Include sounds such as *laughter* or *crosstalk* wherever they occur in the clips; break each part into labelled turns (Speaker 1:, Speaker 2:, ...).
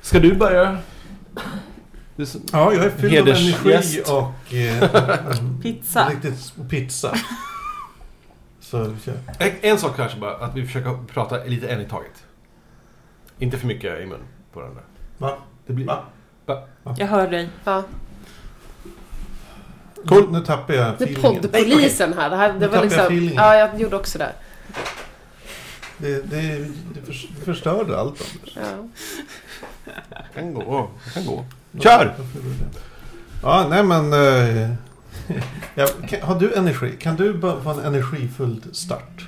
Speaker 1: Ska du börja? Du s-
Speaker 2: Ja, jag är fylld av
Speaker 1: Hedersgäst.
Speaker 2: energi och eh,
Speaker 3: *laughs* Pizza.
Speaker 2: riktigt pizza. Så, ja.
Speaker 4: En, en sak kanske bara, att vi försöker prata lite en i taget. Inte för mycket i mun på varandra.
Speaker 2: Va?
Speaker 4: Det blir...
Speaker 2: Va?
Speaker 3: Jag hör dig.
Speaker 5: Ja.
Speaker 2: Cool. Nu tappar jag
Speaker 5: Det är
Speaker 2: feelingen.
Speaker 5: poddpolisen här. Det, här,
Speaker 2: Nu
Speaker 5: det
Speaker 2: tappar
Speaker 5: var
Speaker 2: jag
Speaker 5: liksom...
Speaker 2: feelingen.
Speaker 5: Ja, jag gjorde också det.
Speaker 2: Det, det, det förs- det förstörde allt. Anders.
Speaker 5: Ja.
Speaker 4: Jag kan gå. Jag kan gå.
Speaker 1: Kör!
Speaker 2: Varför gjorde jag det? Ja, nej men... Eh, ja, kan, har du energi? Kan du bara få en energifylld start?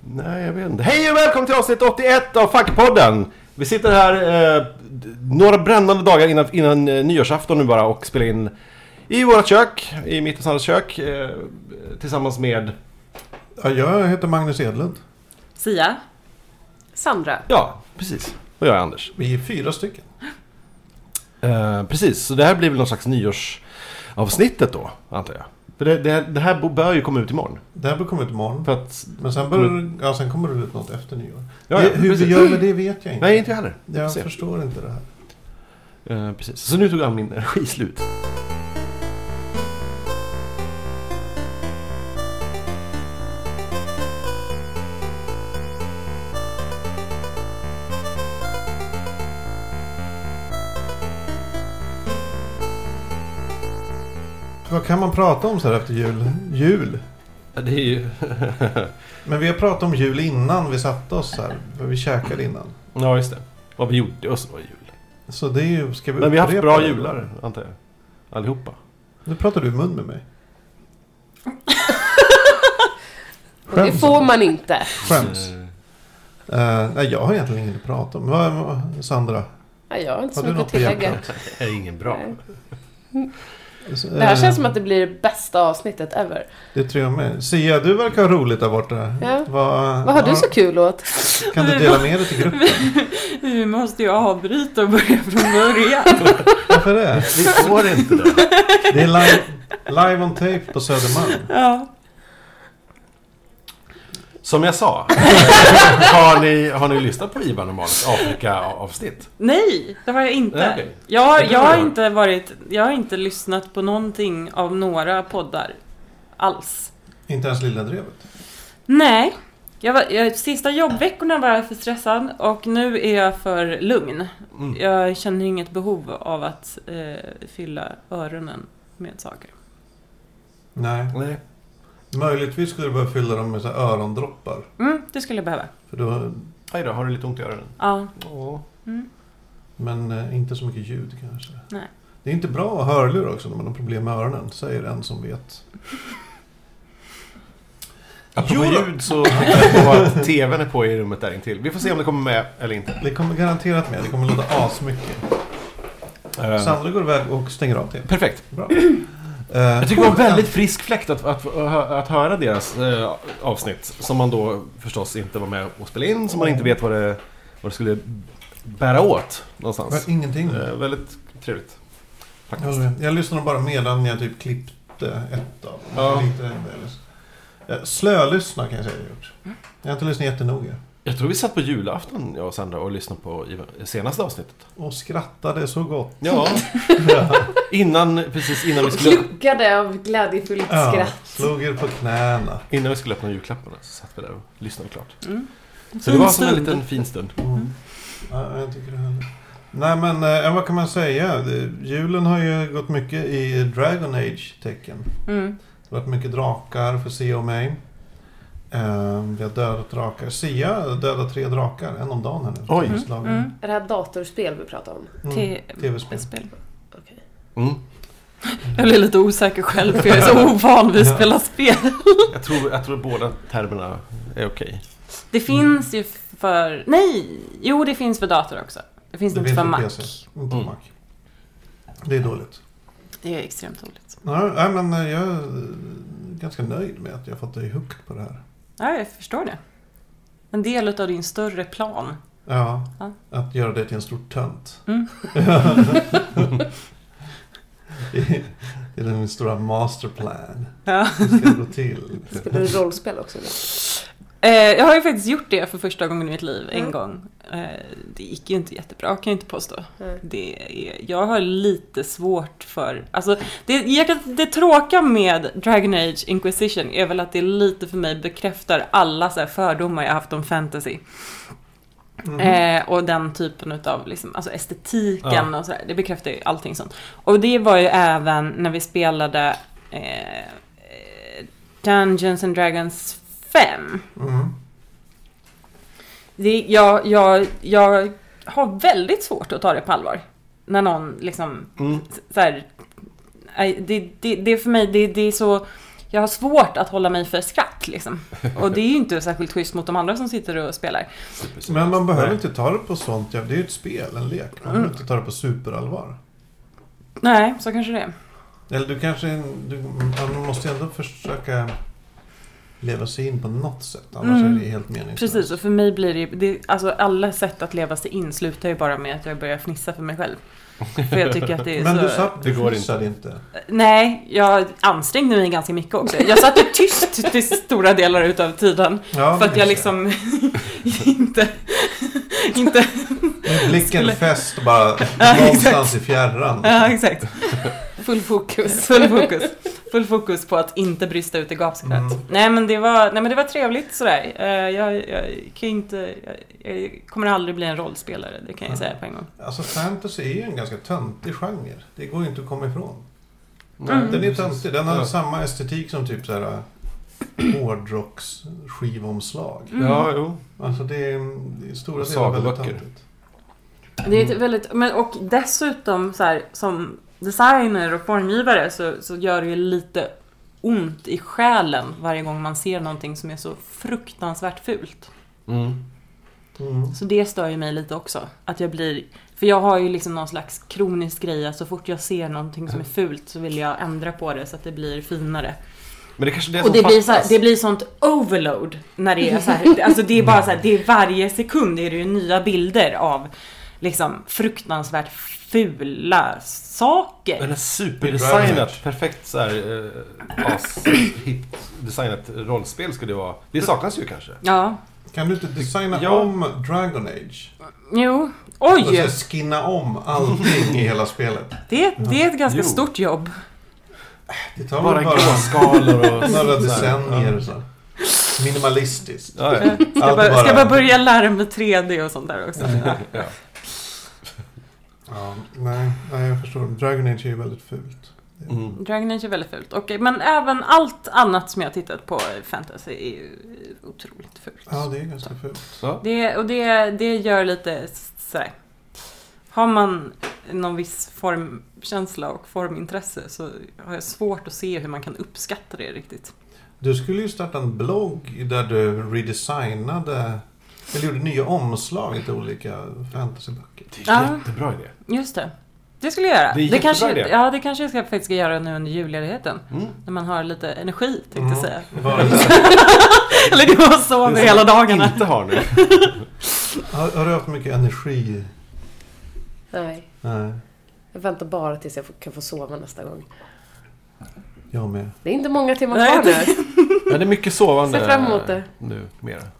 Speaker 4: Nej, jag vet inte. Hej och välkommen till avsnitt 81 av Fackpodden! Vi sitter här eh, d- några brännande dagar innan, innan eh, nyårsafton nu bara och spelar in i vårt kök, i mitt och Sandras kök, eh, tillsammans med,
Speaker 2: Ja, jag heter Magnus Edlund.
Speaker 3: Sia?
Speaker 5: Sandra.
Speaker 4: ja, precis. Och jag är Anders.
Speaker 2: Vi är fyra stycken.
Speaker 4: Eh, precis, så det här blir väl någon slags nyårsavsnittet då, antar jag. För det, det, det här bo- bör ju komma ut imorgon.
Speaker 2: Det här kommer ut imorgon.
Speaker 4: För att...
Speaker 2: Men sen, börjar, ja, sen kommer det ut något efter nyår.
Speaker 4: Ja, ja,
Speaker 2: det, hur
Speaker 4: precis. Mm.
Speaker 2: vi gör med det vet jag inte.
Speaker 4: Nej, inte jag heller.
Speaker 2: jag
Speaker 4: se.
Speaker 2: förstår inte det här.
Speaker 4: Eh, precis. Så nu tog han min energi slut.
Speaker 2: Vad kan man prata om så här efter jul? Jul?
Speaker 4: Ja, Det är ju...
Speaker 2: Men vi har pratat om jul innan vi satte oss här. För vi käkade innan.
Speaker 4: *laughs* ja, just det. Vad vi gjorde och så var det jul.
Speaker 2: Så det är ju... Ska vi
Speaker 4: Men vi har haft
Speaker 2: upprepa
Speaker 4: bra
Speaker 2: det?
Speaker 4: jular, antar jag. Allihopa.
Speaker 2: Nu pratar du i mun med mig.
Speaker 5: Och det
Speaker 2: Skäms.
Speaker 5: får man inte.
Speaker 2: Skäms.
Speaker 4: Eh,
Speaker 2: Eh, nej, jag har egentligen inget att prata om. Vad- vad- Sandra?
Speaker 5: Ja, jag har inte så
Speaker 2: Har du
Speaker 5: mycket
Speaker 2: något
Speaker 5: att
Speaker 2: på
Speaker 5: tillägga.
Speaker 2: hjärtat?
Speaker 4: Det är ingen bra.
Speaker 5: Nej. Det
Speaker 2: Eh.
Speaker 5: här känns som att det blir det bästa avsnittet ever.
Speaker 2: Det tror jag med. Sia, du verkar ha roligt där borta.
Speaker 5: Ja.
Speaker 2: Vad,
Speaker 5: Vad har du så kul åt?
Speaker 2: Kan du dela med dig till
Speaker 5: *laughs*
Speaker 2: gruppen?
Speaker 3: Nu måste jag avbryta och börja
Speaker 4: *laughs*
Speaker 3: från början.
Speaker 2: Varför det?
Speaker 4: Vi får inte det.
Speaker 2: Det är live, live on tape på Södermalm.
Speaker 3: Ja.
Speaker 4: Som jag *laughs* sa. har, ni, har ni lyssnat på Ivan och Malins Afrika-avsnitt?
Speaker 3: Nej, det har jag inte.
Speaker 4: Nej, okej.
Speaker 3: Jag, har- jag, har
Speaker 4: Det var-
Speaker 3: inte varit, jag har inte lyssnat på någonting av några poddar. Alls.
Speaker 2: Inte ens Lilla Drevet.
Speaker 3: Nej. Jag var, jag, sista jobbveckorna var jag för stressad och nu är jag för lugn.
Speaker 4: Mm.
Speaker 3: Jag känner inget behov av att eh, fylla öronen med saker.
Speaker 2: Nej.
Speaker 4: Nej.
Speaker 2: Möjligtvis skulle du behöva fylla dem med så här örondroppar.
Speaker 3: Mm, det skulle jag behöva.
Speaker 2: För då,
Speaker 4: Hej då, har du lite ont i öronen?
Speaker 3: Ja. Mm,
Speaker 4: Åh.
Speaker 2: men eh, inte så mycket ljud kanske.
Speaker 3: Nej.
Speaker 2: Det är inte bra att ha hörlurar också när man har problem med öronen, säger en som vet.
Speaker 4: Apropå
Speaker 2: Jo då.
Speaker 4: ljud *laughs* så tänker jag på att TVn är på i rummet där intill. Vi får se om det kommer med eller inte.
Speaker 2: Det kommer garanterat med. Det kommer låta asmycket.
Speaker 4: Eh,
Speaker 2: Sandra går iväg och stänger av tvn.
Speaker 4: Perfekt.
Speaker 2: Bra.
Speaker 4: Jag tycker det var en väldigt frisk fläkt att, att, att höra deras eh, avsnitt. Som man då förstås inte var med och spelade in, som man inte vet vad det, vad det skulle bära åt någonstans.
Speaker 2: Men ingenting.
Speaker 4: Eh, väldigt trevligt.
Speaker 2: Jag håller
Speaker 4: Faktiskt.
Speaker 2: med. Jag lyssnade bara medan jag typ klippte ett av dem.
Speaker 4: Ja.
Speaker 2: Lite väl. Eh, Slölyssna kan jag säga jag har gjort. Jag har inte lyssnat jättenoga.
Speaker 4: Jag tror vi satt på julafton, jag och Sandra, och lyssnade på i- senaste avsnittet.
Speaker 2: Och skrattade så gott.
Speaker 4: Ja. *laughs* innan, precis innan vi skulle,
Speaker 5: Kluckade av glädjefullt
Speaker 2: Ja,
Speaker 5: skratt.
Speaker 2: slog er på knäna.
Speaker 4: innan vi skulle öppna julklapparna så satt vi där och lyssnade klart.
Speaker 3: Mm.
Speaker 4: Så det var
Speaker 3: Fin
Speaker 4: som en
Speaker 3: stund.
Speaker 4: liten fin stund.
Speaker 2: Mm. Ja, jag tycker det här. Nej men eh, vad kan man säga? Det- Julen har ju gått mycket i Dragon Age-tecken.
Speaker 3: Mm.
Speaker 2: Det har varit mycket drakar för Sia och mig. Eh, Vi har dödat drakar. Sia dödade tre drakar, en om dagen här nu.
Speaker 4: Oj.
Speaker 2: På slagen.
Speaker 3: Mm.
Speaker 5: Är det här datorspel vi pratar om?
Speaker 2: Mm.
Speaker 3: Te-
Speaker 2: TV-spel.
Speaker 3: Spel.
Speaker 5: Okej.
Speaker 4: Mm.
Speaker 3: Jag blir lite osäker själv för jag är
Speaker 2: *laughs*
Speaker 3: så ovan vid att spela spel.
Speaker 4: Jag tror, jag tror båda termerna är okej.
Speaker 3: Det finns ju för... Nej! Jo, det finns för dator också. Det finns
Speaker 2: Det
Speaker 3: inte
Speaker 2: finns
Speaker 3: för
Speaker 2: på
Speaker 3: Mac.
Speaker 2: PC. Inte på
Speaker 4: Mm.
Speaker 2: Mac. Det är dåligt.
Speaker 3: Det är extremt roligt.
Speaker 2: Ja, nej, men eh, jag är ganska nöjd med att jag fått dig hooked på det här.
Speaker 3: Ja, jag förstår det. En del av din större plan.
Speaker 2: Ja,
Speaker 3: Ja.
Speaker 2: att göra dig till en stor tönt.
Speaker 3: Mm.
Speaker 2: det är den stora masterplan.
Speaker 3: Ja. *laughs*
Speaker 2: Hur ska det gå till?
Speaker 5: Spelar du rollspel också? Eller?
Speaker 3: Eh, jag har ju faktiskt gjort det för första gången i mitt liv, en gång. Eh, det gick ju inte jättebra, kan jag inte påstå.
Speaker 5: Nej.
Speaker 3: Det är, jag har lite svårt för... Alltså, det, jag, kan- det tråkiga med Dragon Age Inquisition är väl att det lite för mig bekräftar alla så här fördomar jag haft om fantasy. *laughs*
Speaker 2: Mhm.
Speaker 3: Eh, och den typen utav liksom, alltså estetiken och sådär. Det bekräftar ju allting sånt. Och det var ju även när vi spelade eh, eh, Dungeons and Dragons 5.
Speaker 2: Mm.
Speaker 3: Det, jag, jag, jag har väldigt svårt att ta det på allvar. När någon liksom
Speaker 4: Mm.
Speaker 3: s- så här, nej, det, det, det är för mig, det, det är så... Jag har svårt att hålla mig för skratt liksom. Och det är ju inte särskilt schysst mot de andra som sitter och spelar.
Speaker 2: Men man behöver
Speaker 4: Nej.
Speaker 2: inte ta det på sånt. Ja, det är ju ett spel, en lek. Man behöver
Speaker 3: Mm.
Speaker 2: inte ta det på superallvar.
Speaker 3: Nej, så kanske det är.
Speaker 2: Eller du kanske... Du, man måste ju ändå försöka leva sig in på något sätt. Annars
Speaker 3: Mm.
Speaker 2: är det helt meningslöst.
Speaker 3: Precis, och för mig blir det, det alltså alla sätt att leva sig in slutar ju bara med att jag börjar fnissa för mig själv. För jag tycker att det är
Speaker 2: Men
Speaker 3: så...
Speaker 2: du satt
Speaker 4: Det
Speaker 2: du
Speaker 4: går
Speaker 2: fnissade inte.
Speaker 3: Nej, jag ansträngde mig ganska mycket också. Jag satt ju tyst till stora delar utav tiden.
Speaker 2: Ja,
Speaker 3: för att
Speaker 2: men
Speaker 3: jag
Speaker 2: det-
Speaker 3: liksom *laughs* inte... inte...
Speaker 2: Med blicken
Speaker 3: skulle-
Speaker 2: fäst bara
Speaker 3: *laughs* Ja,
Speaker 2: någonstans
Speaker 3: exakt.
Speaker 2: i fjärran.
Speaker 3: Ja, exakt.
Speaker 5: Full fokus.
Speaker 3: Full fokus. Full fokus på att inte brista ut i gapskratt.
Speaker 2: Mm.
Speaker 3: Nej, men det var, nej men det var trevligt sådär. Eh, Jag, jag kan ju inte... Jag, jag kommer aldrig bli en rollspelare, det kan jag ju säga på en gång.
Speaker 2: Alltså fantasy är ju en ganska töntig genre. Det går ju inte att komma ifrån.
Speaker 3: Mm.
Speaker 2: Den är töntig. Den har
Speaker 4: Ja.
Speaker 2: samma estetik som typ så här äh, *clears throat* hårdrocksskivomslag.
Speaker 3: Mm.
Speaker 4: Ja, jo.
Speaker 2: Alltså det är, det är stora
Speaker 4: Och
Speaker 2: delar väldigt
Speaker 4: sagoböcker.
Speaker 2: töntigt.
Speaker 3: Det är ett väldigt, men och dessutom så här, som designer och formgivare så, så gör det ju lite ont i själen varje gång man ser någonting som är så fruktansvärt fult.
Speaker 4: Mm.
Speaker 2: Mm.
Speaker 3: Så det stör ju mig lite också. Att jag blir, för jag har ju liksom någon slags kronisk grej att så fort jag ser någonting som är fult så vill jag ändra på det så att det blir finare.
Speaker 4: Men det kanske är det
Speaker 3: Och
Speaker 4: som
Speaker 3: det blir, så här,
Speaker 4: fattas.
Speaker 3: det blir sånt overload när det är så här. Alltså det är bara så här, det är varje sekund är det ju nya bilder av liksom fruktansvärt fula
Speaker 4: Den
Speaker 3: saker.
Speaker 4: är superdesignat, perfekt så här, eh, as, hippt designat rollspel skulle det vara. Det saknas ju kanske.
Speaker 3: Ja.
Speaker 2: Kan du inte designa
Speaker 4: Ja.
Speaker 2: om Dragon Age?
Speaker 3: Jo.
Speaker 2: Och
Speaker 4: Alltså,
Speaker 3: Oj!
Speaker 2: så skinna om allting i hela spelet.
Speaker 3: Det, det är ett ganska
Speaker 4: Jo.
Speaker 3: stort jobb.
Speaker 2: Det tar
Speaker 4: Bara
Speaker 2: väl bara
Speaker 4: gråskalor och
Speaker 2: *laughs* några
Speaker 4: sånt där.
Speaker 2: decennier och så. Minimalistiskt.
Speaker 4: Ja,
Speaker 3: *laughs*
Speaker 4: ja.
Speaker 3: Ska jag bara, ska jag bara börja lära mig 3D och sånt där också.
Speaker 4: Ja.
Speaker 2: Ja, nej, nej, jag förstår. Dragon Age är ju väldigt fult.
Speaker 4: Mm.
Speaker 3: Dragon Age är väldigt fult. Okej, men även allt annat som jag tittat på i fantasy är ju otroligt fult.
Speaker 2: Ja, det är ganska fult.
Speaker 4: Ja.
Speaker 3: Det, och det, det gör lite sådär. Har man någon viss formkänsla och formintresse så har jag svårt att se hur man kan uppskatta det riktigt.
Speaker 2: Du skulle ju starta en blogg där du redesignade eller gjorde nya omslag till olika fantasyböcker.
Speaker 4: Det är
Speaker 3: Ja.
Speaker 4: en jättebra idé.
Speaker 3: Just det. Det skulle jag göra.
Speaker 4: Det är jättebra
Speaker 3: kanske,
Speaker 4: idé.
Speaker 3: Ja, det kanske jag ska, faktiskt ska göra nu under julledigheten.
Speaker 4: Mm.
Speaker 3: När man har lite energi, tänkte jag
Speaker 2: Mm.
Speaker 3: säga.
Speaker 2: Var-
Speaker 3: *laughs* Eller det var så
Speaker 4: Det är
Speaker 3: med
Speaker 4: som
Speaker 3: hela
Speaker 4: jag
Speaker 3: dagarna.
Speaker 4: Inte
Speaker 3: *laughs*
Speaker 4: har nu.
Speaker 2: Har, har du haft mycket energi?
Speaker 5: Nej.
Speaker 2: Nej,
Speaker 5: Jag väntar bara tills jag får- kan få sova nästa gång.
Speaker 2: jag med.
Speaker 5: Det är inte många timmar
Speaker 3: Nej,
Speaker 5: kvar nu.
Speaker 4: Ja, det är mycket sovande.
Speaker 5: Ser fram emot det.
Speaker 4: Nu, mera. *laughs*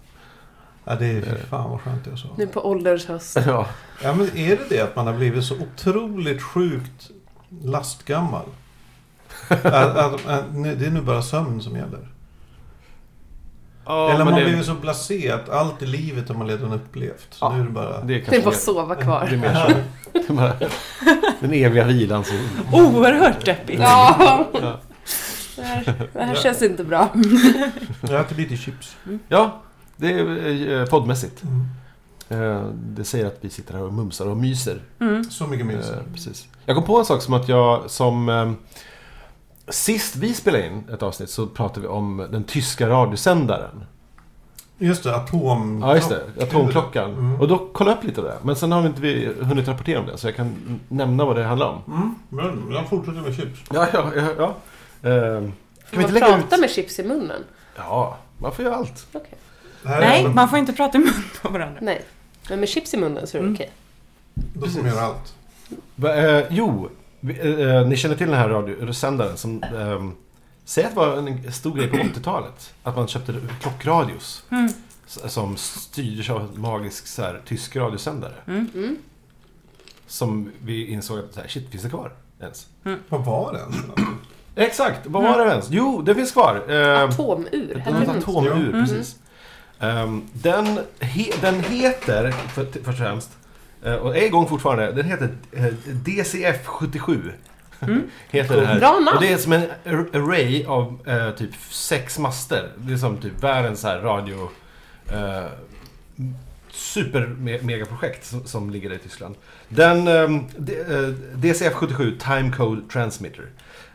Speaker 2: Ja, det är
Speaker 4: Eh.
Speaker 2: fy fan vad skönt det är så.
Speaker 5: Nu på ålderns höst.
Speaker 4: Ja.
Speaker 2: Ja, men är det det att man har blivit så otroligt sjukt
Speaker 4: *laughs*
Speaker 2: lastgammal? att, att, att, nej, det är nu bara sömn som gäller.
Speaker 4: Ja,
Speaker 2: Eller
Speaker 4: men
Speaker 2: man har
Speaker 4: det,
Speaker 2: blivit så blasé att allt i livet har man redan upplevt. Så
Speaker 4: Ja,
Speaker 2: nu är det bara...
Speaker 4: det är kanske
Speaker 5: Det är bara
Speaker 4: mer-
Speaker 5: sova
Speaker 4: Det är
Speaker 5: kvar.
Speaker 4: mer så. Det är bara Den eviga vilan som...
Speaker 3: Oerhört deppigt.
Speaker 5: Ja.
Speaker 4: Ja. *laughs*
Speaker 5: Det här, det här känns inte bra.
Speaker 2: Jag äter lite chips.
Speaker 4: Ja, det är eh, poddmässigt.
Speaker 2: Mm.
Speaker 4: Eh, Det säger att vi sitter här och mumsar och myser.
Speaker 3: Mm.
Speaker 2: Så mycket minns jag.
Speaker 4: Eh, Precis. Jag kom på en sak som att jag som... eh, Sist vi spelade in ett avsnitt så pratade vi om den tyska radiosändaren.
Speaker 2: Just det, atom...
Speaker 4: Mm. Ja, just det. Atomklockan.
Speaker 2: Mm.
Speaker 4: Och då kollade jag upp lite av det. Men sen har vi inte vi hunnit rapportera om det, så jag kan n- nämna vad det handlar om.
Speaker 2: Mm, men jag fortsätter med chips.
Speaker 4: Ja, ja, ja. ja. Eh, Kan vi
Speaker 5: Man
Speaker 4: inte lägga
Speaker 5: pratar
Speaker 4: ut...
Speaker 5: med chips i munnen.
Speaker 4: Ja, man får göra allt.
Speaker 5: Okej.
Speaker 2: Det här
Speaker 3: Nej,
Speaker 2: är,
Speaker 3: man får inte prata i mun på varandra.
Speaker 5: Nej. Men med chips i munnen så är det
Speaker 3: Mm.
Speaker 5: okej.
Speaker 2: Då får man göra allt.
Speaker 4: Va- eh, jo, vi- eh, eh, ni känner till den här radiosändaren som eh, Säg att det var en stor grej på 80-talet. Att man köpte klockradios.
Speaker 3: Mm.
Speaker 4: s- Som styrdes av en magisk så här, tysk radiosändare.
Speaker 3: Mm.
Speaker 5: Mm.
Speaker 4: Som vi insåg att så här, shit, finns det kvar ens?
Speaker 2: Vad var den? för
Speaker 4: Eh,
Speaker 2: någonting?
Speaker 4: Exakt, vad var det ens? Jo, det finns kvar. Eh,
Speaker 5: Atomur.
Speaker 4: Det
Speaker 5: Hette
Speaker 4: var
Speaker 5: det
Speaker 4: ett
Speaker 5: inte?
Speaker 4: atomur,
Speaker 2: Ja.
Speaker 4: precis. Ehm, den, he, den heter, för, först och främst, eh, och är igång fortfarande, den heter eh, DCF77. heter det här.
Speaker 5: Mm. Bra namn.
Speaker 4: Och det är som en ar- array av eh, typ sex master. Det är som typ världens så här radio... Eh, super me- megaprojekt som, som ligger där i Tyskland. Den ehm, D- eh, DCF77 Time Code Transmitter.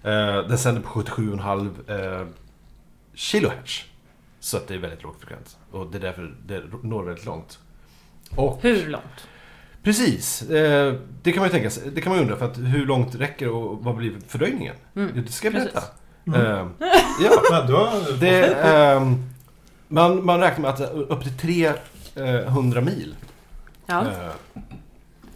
Speaker 4: Eh, den sänder på 77,5 eh, kilohertz. Så att det är väldigt låg frekvens. Och det är därför det når väldigt långt. Och
Speaker 3: Hur långt?
Speaker 4: Precis. Eh, Det kan man ju tänka sig. Det kan man ju undra för att hur långt räcker det och vad blir fördröjningen?
Speaker 3: Mm.
Speaker 4: Det ska jag
Speaker 3: Precis.
Speaker 4: berätta.
Speaker 2: Mm.
Speaker 4: Eh, Ja,
Speaker 2: Men du har...
Speaker 4: det, ehm, man, man räknar med att eh, upp till 300 mil.
Speaker 3: Ja.
Speaker 4: eh,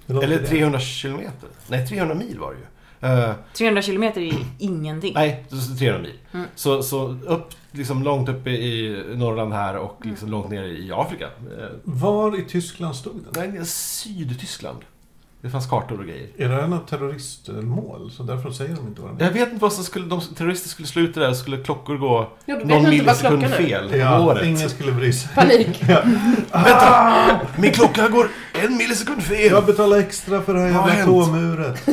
Speaker 2: det låter
Speaker 4: Eller
Speaker 2: det.
Speaker 4: 300 kilometer. Nej, 300 mil var det ju. Eh,
Speaker 3: 300 kilometer är ju ingenting.
Speaker 4: Nej, så 300 mil.
Speaker 3: Mm.
Speaker 4: Så, så upp, liksom långt uppe i Norrland här och
Speaker 5: Mm.
Speaker 4: liksom långt ner i Afrika. Eh,
Speaker 2: Var i Tyskland stod den?
Speaker 4: Nej, det är Sydtyskland. Det fanns kartor och grejer.
Speaker 2: Är det något terroristmål? Så därför säger de inte vad den är.
Speaker 4: Jag vet inte vad som skulle, de terrorister skulle slå ut det där, skulle klockor gå
Speaker 5: Ja, då vet
Speaker 4: någon
Speaker 5: man inte vad klockan
Speaker 4: millisekund
Speaker 5: är.
Speaker 4: fel om
Speaker 2: Ja,
Speaker 4: året.
Speaker 2: ingen skulle bry sig.
Speaker 5: Panik.
Speaker 4: Vänta! Min klocka går en millisekund fel!
Speaker 2: Jag betalar extra för det här
Speaker 4: Vad har
Speaker 2: jävla
Speaker 4: hänt?
Speaker 2: K-muret.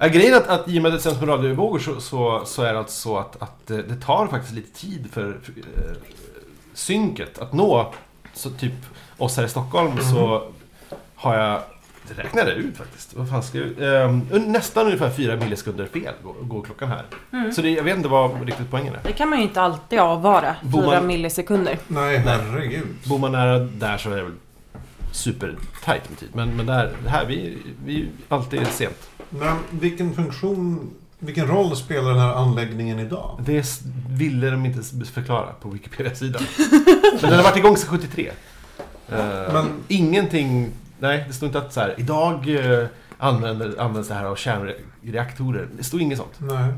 Speaker 4: Ja, grejen är att, att i och med att det sänds med radiovågor så, så, så är det alltså så att, att eh, det tar faktiskt lite tid för, för eh, synket att nå så typ oss här i Stockholm så har jag det räknade jag ut faktiskt. Vad fan ska jag, eh, nästan ungefär fyra millisekunder fel går, går klockan här. Så det, jag vet inte vad riktigt poängen är.
Speaker 3: Mm. Det kan man ju inte alltid avvara,
Speaker 4: Bor
Speaker 3: 4
Speaker 4: man-
Speaker 3: millisekunder.
Speaker 2: Nej, herregud.
Speaker 4: Bor man nära där så är det väl supertajt med tid. Men, men där, här, vi, vi alltid är sent.
Speaker 2: Men vilken funktion, vilken roll spelar den här anläggningen idag?
Speaker 4: Det s- ville de inte s- förklara på
Speaker 5: *laughs*
Speaker 4: Wikipedia-sidan. men den har varit igång sedan 73. Eh,
Speaker 2: Men-
Speaker 4: Ingenting... Nej, det står inte att så här, idag eh, använder, används det här av kärnreaktorer. Det står inget sånt.
Speaker 2: Nej.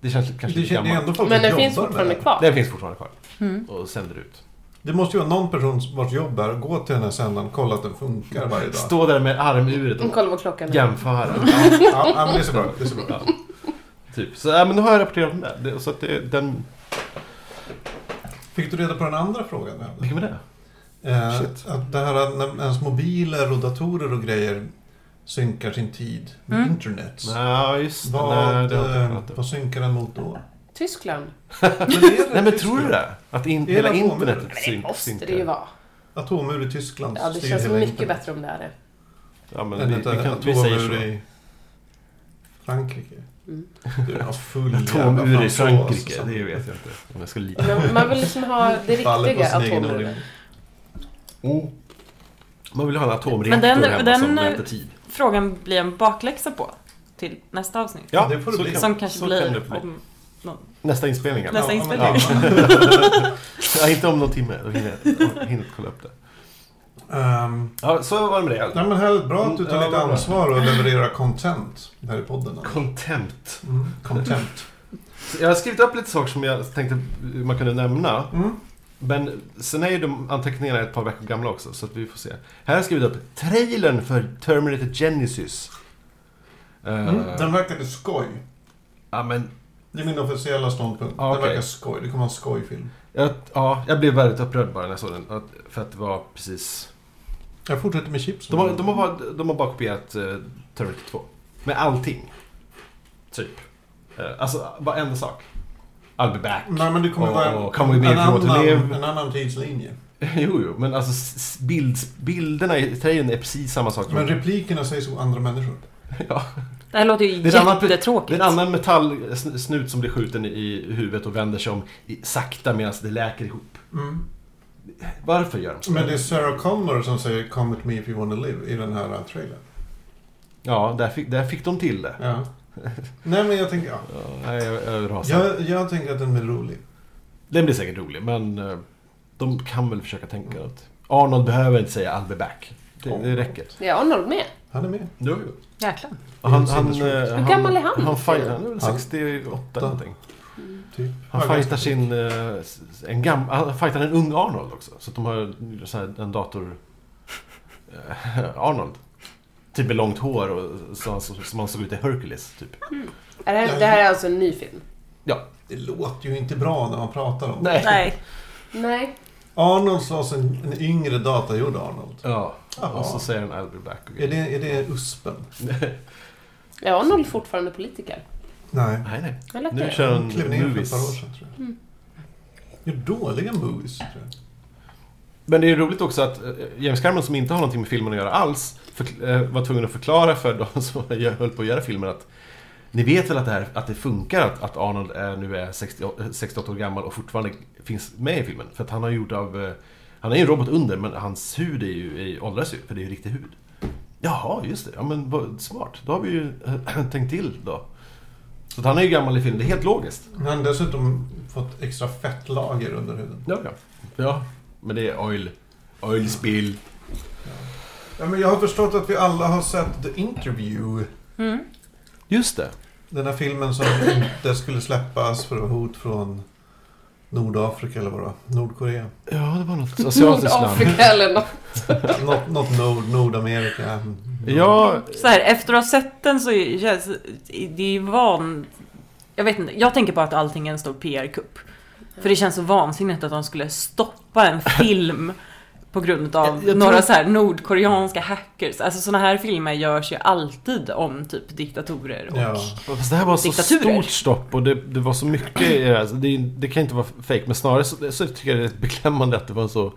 Speaker 4: Det känns kanske
Speaker 2: Det
Speaker 4: lite
Speaker 2: känner ju
Speaker 4: gammalt.
Speaker 2: ändå folk
Speaker 5: Men den
Speaker 2: som
Speaker 5: finns
Speaker 2: jobbar med
Speaker 5: fortfarande
Speaker 2: det.
Speaker 5: kvar.
Speaker 4: Den finns fortfarande kvar
Speaker 3: Mm.
Speaker 4: och sänder ut.
Speaker 2: Det måste ju vara någon person vars jobb är att gå till den här sändaren, kolla att den funkar varje dag.
Speaker 4: Stå där med armuret
Speaker 5: Mm,
Speaker 4: och
Speaker 5: Kolla vad klockan är.
Speaker 4: jämföra.
Speaker 2: Ja, ja, ja, men det är så bra. Det är så bra.
Speaker 4: Ja. Typ. Så ja, men nu har jag rapporterat om det. det. Så att det, den...
Speaker 2: Fick du reda på den andra frågan? jag hade?
Speaker 4: Vilken var det?
Speaker 2: Eh,
Speaker 4: Shit.
Speaker 2: att det här när ens mobiler och datorer och grejer synkar sin tid med
Speaker 3: Mm.
Speaker 2: internet.
Speaker 4: Nej, just det. Nej,
Speaker 2: Vad,
Speaker 4: det har jag inte
Speaker 2: eh,
Speaker 4: pratat om.
Speaker 2: vad synkar den mot då?
Speaker 5: Tyskland.
Speaker 4: *laughs*
Speaker 2: Men det är
Speaker 4: Nej, men
Speaker 2: Tyskland.
Speaker 4: tror du det? Att in,
Speaker 2: Det är
Speaker 4: hela
Speaker 2: hela formen.
Speaker 4: internetet
Speaker 5: Men det
Speaker 4: syn-
Speaker 5: måste det ju vara.
Speaker 2: Atomur i Tyskland
Speaker 5: Ja, det
Speaker 2: styr
Speaker 5: känns
Speaker 2: hela
Speaker 5: mycket
Speaker 2: internet.
Speaker 5: bättre om det här är
Speaker 4: Ja, men
Speaker 2: Än
Speaker 4: vi,
Speaker 2: ett
Speaker 4: vi, kan, vi säger
Speaker 2: atomur
Speaker 4: så.
Speaker 2: i Frankrike.
Speaker 5: Mm.
Speaker 2: Du är en full jävla
Speaker 4: Atomur i
Speaker 2: fransos
Speaker 4: Frankrike,
Speaker 2: som-
Speaker 4: det vet jag inte. Om jag ska lita.
Speaker 5: Men man vill liksom ha det
Speaker 2: faller på
Speaker 5: riktiga
Speaker 2: sin egen
Speaker 5: atomuret.
Speaker 2: orimlighet.
Speaker 4: Mm. Man vill ha en atomreaktor
Speaker 3: Men den-
Speaker 4: hemma
Speaker 3: den-
Speaker 4: som mäter tid.
Speaker 3: Frågan blir en bakläxa på till nästa avsnitt.
Speaker 2: Ja, det får det
Speaker 4: så
Speaker 2: bli.
Speaker 4: kan-
Speaker 3: Som kanske
Speaker 4: så kan det
Speaker 3: blir
Speaker 4: bli.
Speaker 3: om någon,
Speaker 4: Nästa inspelning alltså.
Speaker 3: nästa
Speaker 2: Ja,
Speaker 3: inspelning.
Speaker 2: men-
Speaker 4: ja, *laughs* Inte om någon timme, då hinner jag jag hinner inte kolla upp det.
Speaker 2: Ehm,
Speaker 4: Ja, så var det med det.
Speaker 2: Nej men här, bra att du
Speaker 4: Ja,
Speaker 2: tar
Speaker 4: vad
Speaker 2: lite
Speaker 4: bra.
Speaker 2: ansvar och levererar content här i podden.
Speaker 4: Contempt.
Speaker 2: Mm, content.
Speaker 4: Så Jag har skrivit upp lite saker som jag tänkte man kunde nämna.
Speaker 2: Mm.
Speaker 4: Men sen är ju de anteckningarna ett par veckor gamla också, så att vi får se. Här har jag skrivit upp trailern för Terminator Genesis. Eh,
Speaker 2: Mm, Den verkade skoj.
Speaker 4: Ja, men
Speaker 2: Det är min officiella ståndpunkt.
Speaker 4: Ah,
Speaker 2: Den
Speaker 4: okej.
Speaker 2: verkar skoj. Det kommer vara en skojfilm.
Speaker 4: jag, ja, jag blev väldigt upprörd bara när jag såg den. Att, för att det var precis...
Speaker 2: Jag fortsätter med chips.
Speaker 4: De har, de har, bara, de har bara kopierat eh, Terminator 2. Med allting. Typ. Eh, alltså, bara en sak. I'll be back.
Speaker 2: Nej men det kommer
Speaker 4: Åh,
Speaker 2: vara
Speaker 4: come with me
Speaker 2: en,
Speaker 4: if you want to
Speaker 2: annan,
Speaker 4: live.
Speaker 2: en annan tidslinje.
Speaker 4: *laughs* jo, jo, men alltså s- s- bild, bilderna i trailern är precis samma sak.
Speaker 2: Men replikerna sägs av andra människor.
Speaker 4: *laughs* ja.
Speaker 3: Det här låter ju
Speaker 4: Det är en annan- Det är
Speaker 3: jättetråkigt.
Speaker 4: en annan metallsnut som blir skjuten i huvudet och vänder sig om i, sakta medan det läker ihop.
Speaker 2: Mm.
Speaker 4: Varför gör de så?
Speaker 2: Men det är Sarah Connor som säger Come with me if you want to live i den här eh, trailern.
Speaker 4: Ja, där fick, där fick de till det.
Speaker 2: Ja.
Speaker 4: *laughs*
Speaker 2: Nej men jag tänker, ja.
Speaker 4: Ja, nej, jag, jag rasar.
Speaker 2: Jag, jag tänker att den blir rolig.
Speaker 4: Den blir säkert rolig, men eh, de kan väl försöka tänka något. Arnold behöver inte säga I'll be back. Det, det räcker.
Speaker 5: Det är Arnold med.
Speaker 2: Han är med.
Speaker 4: Jo,
Speaker 3: Jäklar.
Speaker 4: Han, han, eh,
Speaker 2: Hur
Speaker 4: han-
Speaker 5: gammal är han?
Speaker 4: Han, fightar- han är väl
Speaker 2: Han-
Speaker 4: 68 eller någonting.
Speaker 5: Mm.
Speaker 2: Typ.
Speaker 4: Han
Speaker 2: Ja,
Speaker 4: fightar sin... eh, s- s- En gam, han fightar en ung Arnold också. Så att de har så här, en dator... eh, *laughs* Arnold. Typ med långt hår och så, så, som han såg ut i Hercules, typ.
Speaker 5: Är det, här, det här är alltså en ny film?
Speaker 2: Det låter ju inte bra när man pratar om det.
Speaker 4: Nej. *laughs*
Speaker 3: Nej.
Speaker 5: Nej.
Speaker 2: Arnold slåss en, en yngre datagjord Arnold.
Speaker 4: Ja.
Speaker 2: Jaha.
Speaker 4: Och så säger han I'll be back.
Speaker 2: Är
Speaker 4: Okay.
Speaker 2: det, är det uspen?
Speaker 5: Är Arnold fortfarande politiker?
Speaker 2: Nej.
Speaker 4: *laughs* Nej, nej.
Speaker 5: Jag lät
Speaker 4: Nu
Speaker 5: det.
Speaker 4: kör han
Speaker 2: Han klev ner för ett
Speaker 4: movies.
Speaker 2: par år sedan tror jag. Gör dåliga movies tror jag.
Speaker 4: Men det är ju roligt också att eh, James Cameron som inte har någonting med filmen att göra alls för, eh, var tvungen att förklara för *laughs* de som gö- höll på att göra filmen att ni vet väl att det, här, att det funkar att, att Arnold är, nu är 60, eh, 68 år gammal och fortfarande finns med i filmen. För att han har gjort av... eh, Han är ju en robot under men hans hud är ju, är, ju- åldras ju, för det är ju riktig hud. Jaha, just det. Ja men vad smart. Då har vi ju eh, *clears throat* tänkt till då. Så att han är ju gammal i filmen, det är helt logiskt.
Speaker 2: Han har dessutom fått extra fettlager under huden.
Speaker 4: Ja, ja. ja men det är oil. Oil spill.
Speaker 2: Ja, men jag har förstått att vi alla har sett The Interview.
Speaker 3: Mm.
Speaker 4: Just det.
Speaker 2: Den här filmen som inte skulle släppas för det var hot från Nordafrika eller vad det var. Nordkorea.
Speaker 4: Ja, det var något asiatiskt land.
Speaker 5: Nordafrika eller något.
Speaker 2: Något, något nord, Nordamerika.
Speaker 4: Ja,
Speaker 3: Så här, efter att ha sett den så känns det är ju van... Jag vet inte, jag tänker bara att allting är en stor PR-kupp. För det känns så vansinnigt att de skulle
Speaker 4: *laughs*
Speaker 3: stoppa en film på grund av
Speaker 4: Jag- jag
Speaker 3: några
Speaker 4: tror-
Speaker 3: så här nordkoreanska hackers. Alltså såna här filmer görs ju alltid om typ diktatorer och...
Speaker 2: Ja.
Speaker 4: fast det här var så
Speaker 3: Diktaturer.
Speaker 4: stort stopp och det, det var så mycket i det här. Så Det, det kan inte vara fake men snarare så, så tycker jag det är beklämmande att det var så...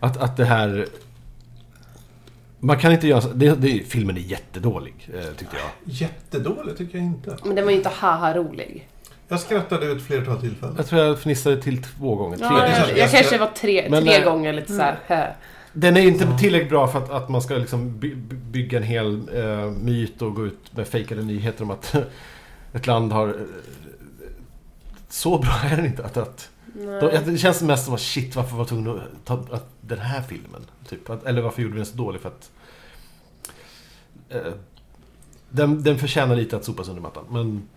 Speaker 4: Att, att det här... Man kan inte göra så... Det, det, filmen är jättedålig, eh, tyckte jag.
Speaker 2: Jättedålig tycker jag inte.
Speaker 5: Men den var ju inte haha rolig.
Speaker 2: Jag skrattade ut flertal tillfällen.
Speaker 4: Jag tror jag fnissade till två gånger. Tre.
Speaker 5: Ja,
Speaker 2: är
Speaker 5: jag,
Speaker 2: så-
Speaker 5: jag kanske var tre,
Speaker 4: Men,
Speaker 5: tre
Speaker 4: eh,
Speaker 5: gånger lite såhär hö.
Speaker 4: Den är inte tillräckligt bra för att, att man ska liksom by, by- bygga en hel eh, myt och gå ut med fejkade nyheter om att *laughs* ett land har... eh, Så bra är den inte. Att, att,
Speaker 5: Nej.
Speaker 4: De, det känns mest som att shit, varför var tvungen att ta att den här filmen? Typ. Att, eller varför gjorde vi den så dålig? För att... Eh, den, den förtjänar lite att sopas under mattan. Men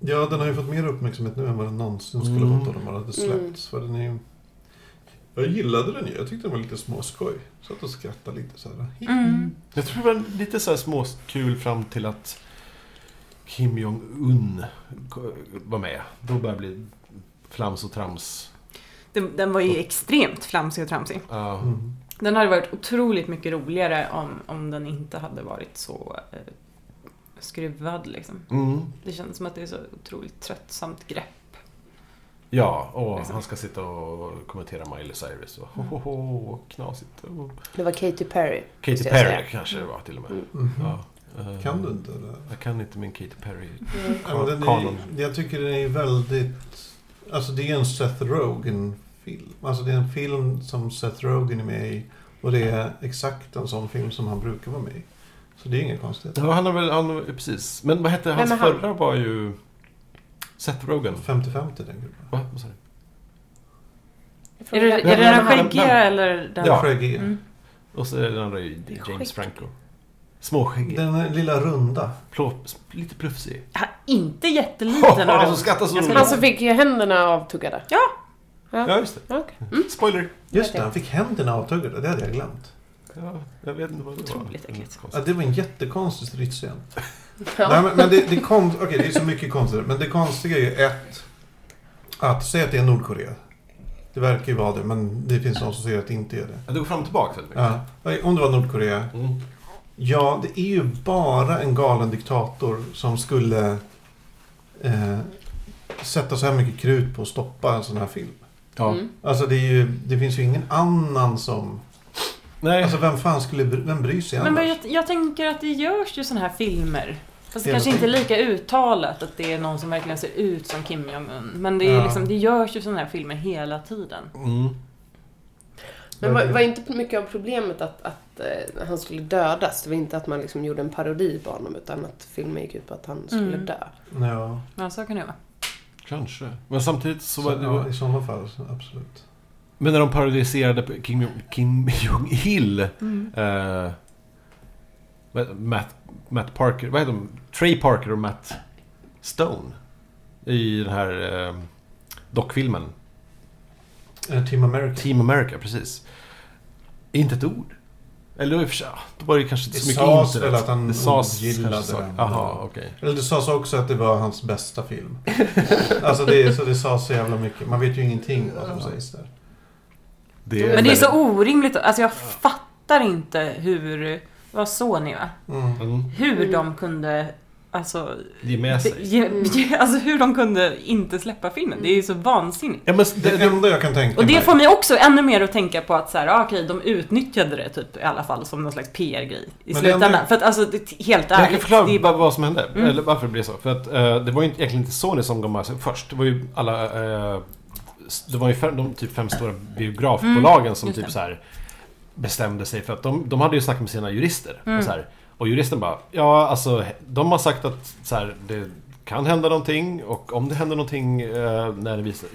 Speaker 2: Ja, den har ju fått mer uppmärksamhet nu än vad den någonsin skulle ha
Speaker 4: Mm.
Speaker 2: fått om den bara hade släppts. För den är ju... Jag gillade den ju. Jag tyckte den var lite småskoj. Satt och skrattade lite så här.
Speaker 3: Mm.
Speaker 4: jag tror det var lite så här småkul fram till att Kim Jong-Un ko- var med. Då började det bli flams och trams.
Speaker 3: Den, den var ju extremt flamsig och tramsig.
Speaker 4: Ja.
Speaker 2: Mm.
Speaker 3: Den hade varit otroligt mycket roligare om, om den inte hade varit så eh, skruvad liksom.
Speaker 4: Mm.
Speaker 3: Det känns som att det är så otroligt tröttsamt grepp.
Speaker 4: Ja, och
Speaker 3: Liksom.
Speaker 4: han ska sitta och kommentera Miley Cyrus. Och, ho, ho, ho, knasigt. Och
Speaker 5: Det var Katy Perry.
Speaker 4: Katy
Speaker 5: Mm. ska jag
Speaker 4: Perry
Speaker 5: säga.
Speaker 4: kanske det var till och med.
Speaker 5: Mm.
Speaker 2: Mhm.
Speaker 4: Ja. Eh,
Speaker 2: Kan du inte det?
Speaker 4: Jag kan inte min Katy Perry.
Speaker 2: Ja, men den
Speaker 4: Kanon.
Speaker 2: är, jag tycker den är väldigt... Alltså det är en Seth Rogen-film. Alltså det är en film som Seth Rogen är med i. Och det är exakt en sån film som han brukar vara med i. Så det är inga konstigheter.
Speaker 4: Ja, han har väl, han, precis. Men vad hette hans
Speaker 5: är han?
Speaker 4: förra var ju... Seth Rogen.
Speaker 2: 50-50 den gruppen.
Speaker 4: Va? Vad sa du?
Speaker 3: Är det,
Speaker 5: Fråga-
Speaker 3: är det
Speaker 4: vem-
Speaker 3: den
Speaker 4: vem-
Speaker 3: skäggiga eller den...
Speaker 4: Ja.
Speaker 2: Skäggig.
Speaker 3: Mm.
Speaker 4: Och så är den andra ju James
Speaker 3: Skägg.
Speaker 4: Franco. Småskäggig.
Speaker 2: Den här lilla runda.
Speaker 4: Plå- Lite plufsig.
Speaker 3: Ja, inte jätteliten och
Speaker 4: han som
Speaker 3: den.
Speaker 4: skrattar så
Speaker 3: Jag ska-
Speaker 5: Han
Speaker 4: roligt.
Speaker 5: som Alltså, fick händerna avtuggade.
Speaker 4: Ja, just det. Mm.
Speaker 5: Okej.
Speaker 4: Spoiler.
Speaker 2: Just det, han fick händerna avtuggade. Det hade jag glömt.
Speaker 4: Ja, jag vet inte vad det var.
Speaker 3: Otroligt äckligt.
Speaker 2: Ja, det var en jättekonstig stridsscen. Nej,
Speaker 5: Ja.
Speaker 2: men, men det, det, kon- okej, det är så mycket konstigt. Men det konstiga är ju ett. Att säga att det är Nordkorea. Det verkar ju vara det, men det finns någon som säger att det inte är det.
Speaker 4: Ja, det går fram och tillbaka väldigt mycket.
Speaker 2: Ja. Om det var Nordkorea.
Speaker 4: Mm.
Speaker 2: Ja, det är ju bara en galen diktator som skulle eh, sätta så här mycket krut på att stoppa en sån här film.
Speaker 4: Ja.
Speaker 5: Mm.
Speaker 2: Alltså det, är ju, det finns ju ingen annan som...
Speaker 4: Nej.
Speaker 2: Alltså vem fan skulle... bry- Vem bryr sig
Speaker 3: Men vad
Speaker 2: annars?
Speaker 3: jag, jag tänker att det görs ju sådana här filmer. Fast det
Speaker 2: Hela
Speaker 3: kanske inte är
Speaker 2: tiden.
Speaker 3: lika uttalat att det är någon som verkligen ser ut som Kim Jong-Un. Men det, är ju
Speaker 2: Ja.
Speaker 3: liksom, det görs ju sådana här filmer hela tiden.
Speaker 4: Mm.
Speaker 5: Men var, var inte mycket av problemet att, att eh, han skulle dödas? Det var inte att man liksom gjorde en parodi på honom utan att filmen gick ut på att han skulle
Speaker 3: Mm.
Speaker 5: dö.
Speaker 2: Ja,
Speaker 3: Ja, så kan det vara.
Speaker 4: Kanske. Men samtidigt så
Speaker 2: så,
Speaker 4: var det...
Speaker 2: ja, i sådana fall så absolut.
Speaker 4: Men när de parodiserade på Kim, Jong- Kim Jong-Il.
Speaker 5: Mm.
Speaker 4: eh, vad- Matt, Matt Parker, vad heter de? Trey Parker och Matt Stone. I den här eh, dockfilmen.
Speaker 2: Eh, Team America.
Speaker 4: Team America, precis. Inte ett ord. Eller i och för sig, ja, då var det kanske inte
Speaker 2: Det
Speaker 4: så mycket
Speaker 2: sades
Speaker 4: internet.
Speaker 2: väl att han
Speaker 4: det sades
Speaker 2: ogillade
Speaker 4: kanske saker.
Speaker 2: den.
Speaker 4: Jaha, okej.
Speaker 2: Eller det sades också att det var hans
Speaker 4: *laughs*
Speaker 2: bästa film. alltså det, är- så det sades så jävla mycket. Man vet ju ingenting vad som sägs där.
Speaker 3: Men det är så orimligt. Alltså jag fattar inte hur... Det var Sony va?
Speaker 2: Mm.
Speaker 4: Mm.
Speaker 3: Hur
Speaker 5: Mm.
Speaker 3: de kunde... Alltså,
Speaker 4: Det är med
Speaker 3: det-
Speaker 4: sig.
Speaker 3: ge, ge, alltså hur de kunde inte släppa filmen. Det är ju så vansinnigt.
Speaker 4: Ja, men
Speaker 2: Det enda jag kan tänka
Speaker 3: Och det
Speaker 2: mig.
Speaker 3: får mig också ännu mer att tänka på att så här, ah, okej, de utnyttjade det typ i alla fall som någon slags PR-grej i
Speaker 2: Men det
Speaker 3: slutändan.
Speaker 2: ändå-
Speaker 3: För att alltså, det, helt
Speaker 4: Jag kan
Speaker 3: ärligt.
Speaker 4: förklara
Speaker 3: det är Mm. bara-
Speaker 4: bara vad som hände. Eller varför det blev så. För att eh, det var ju inte- egentligen inte Sony som gav med sig först. Det var ju alla... eh, s- det var ju fem, de typ fem stora biografbolagen som
Speaker 3: Mm, just
Speaker 4: typ
Speaker 3: det.
Speaker 4: så här bestämde sig för att de, de hade ju snackat med sina jurister.
Speaker 3: Mm.
Speaker 4: Och, så här, och juristen bara, ja alltså de har sagt att så här, det kan hända någonting och om det händer någonting eh, när ni visar,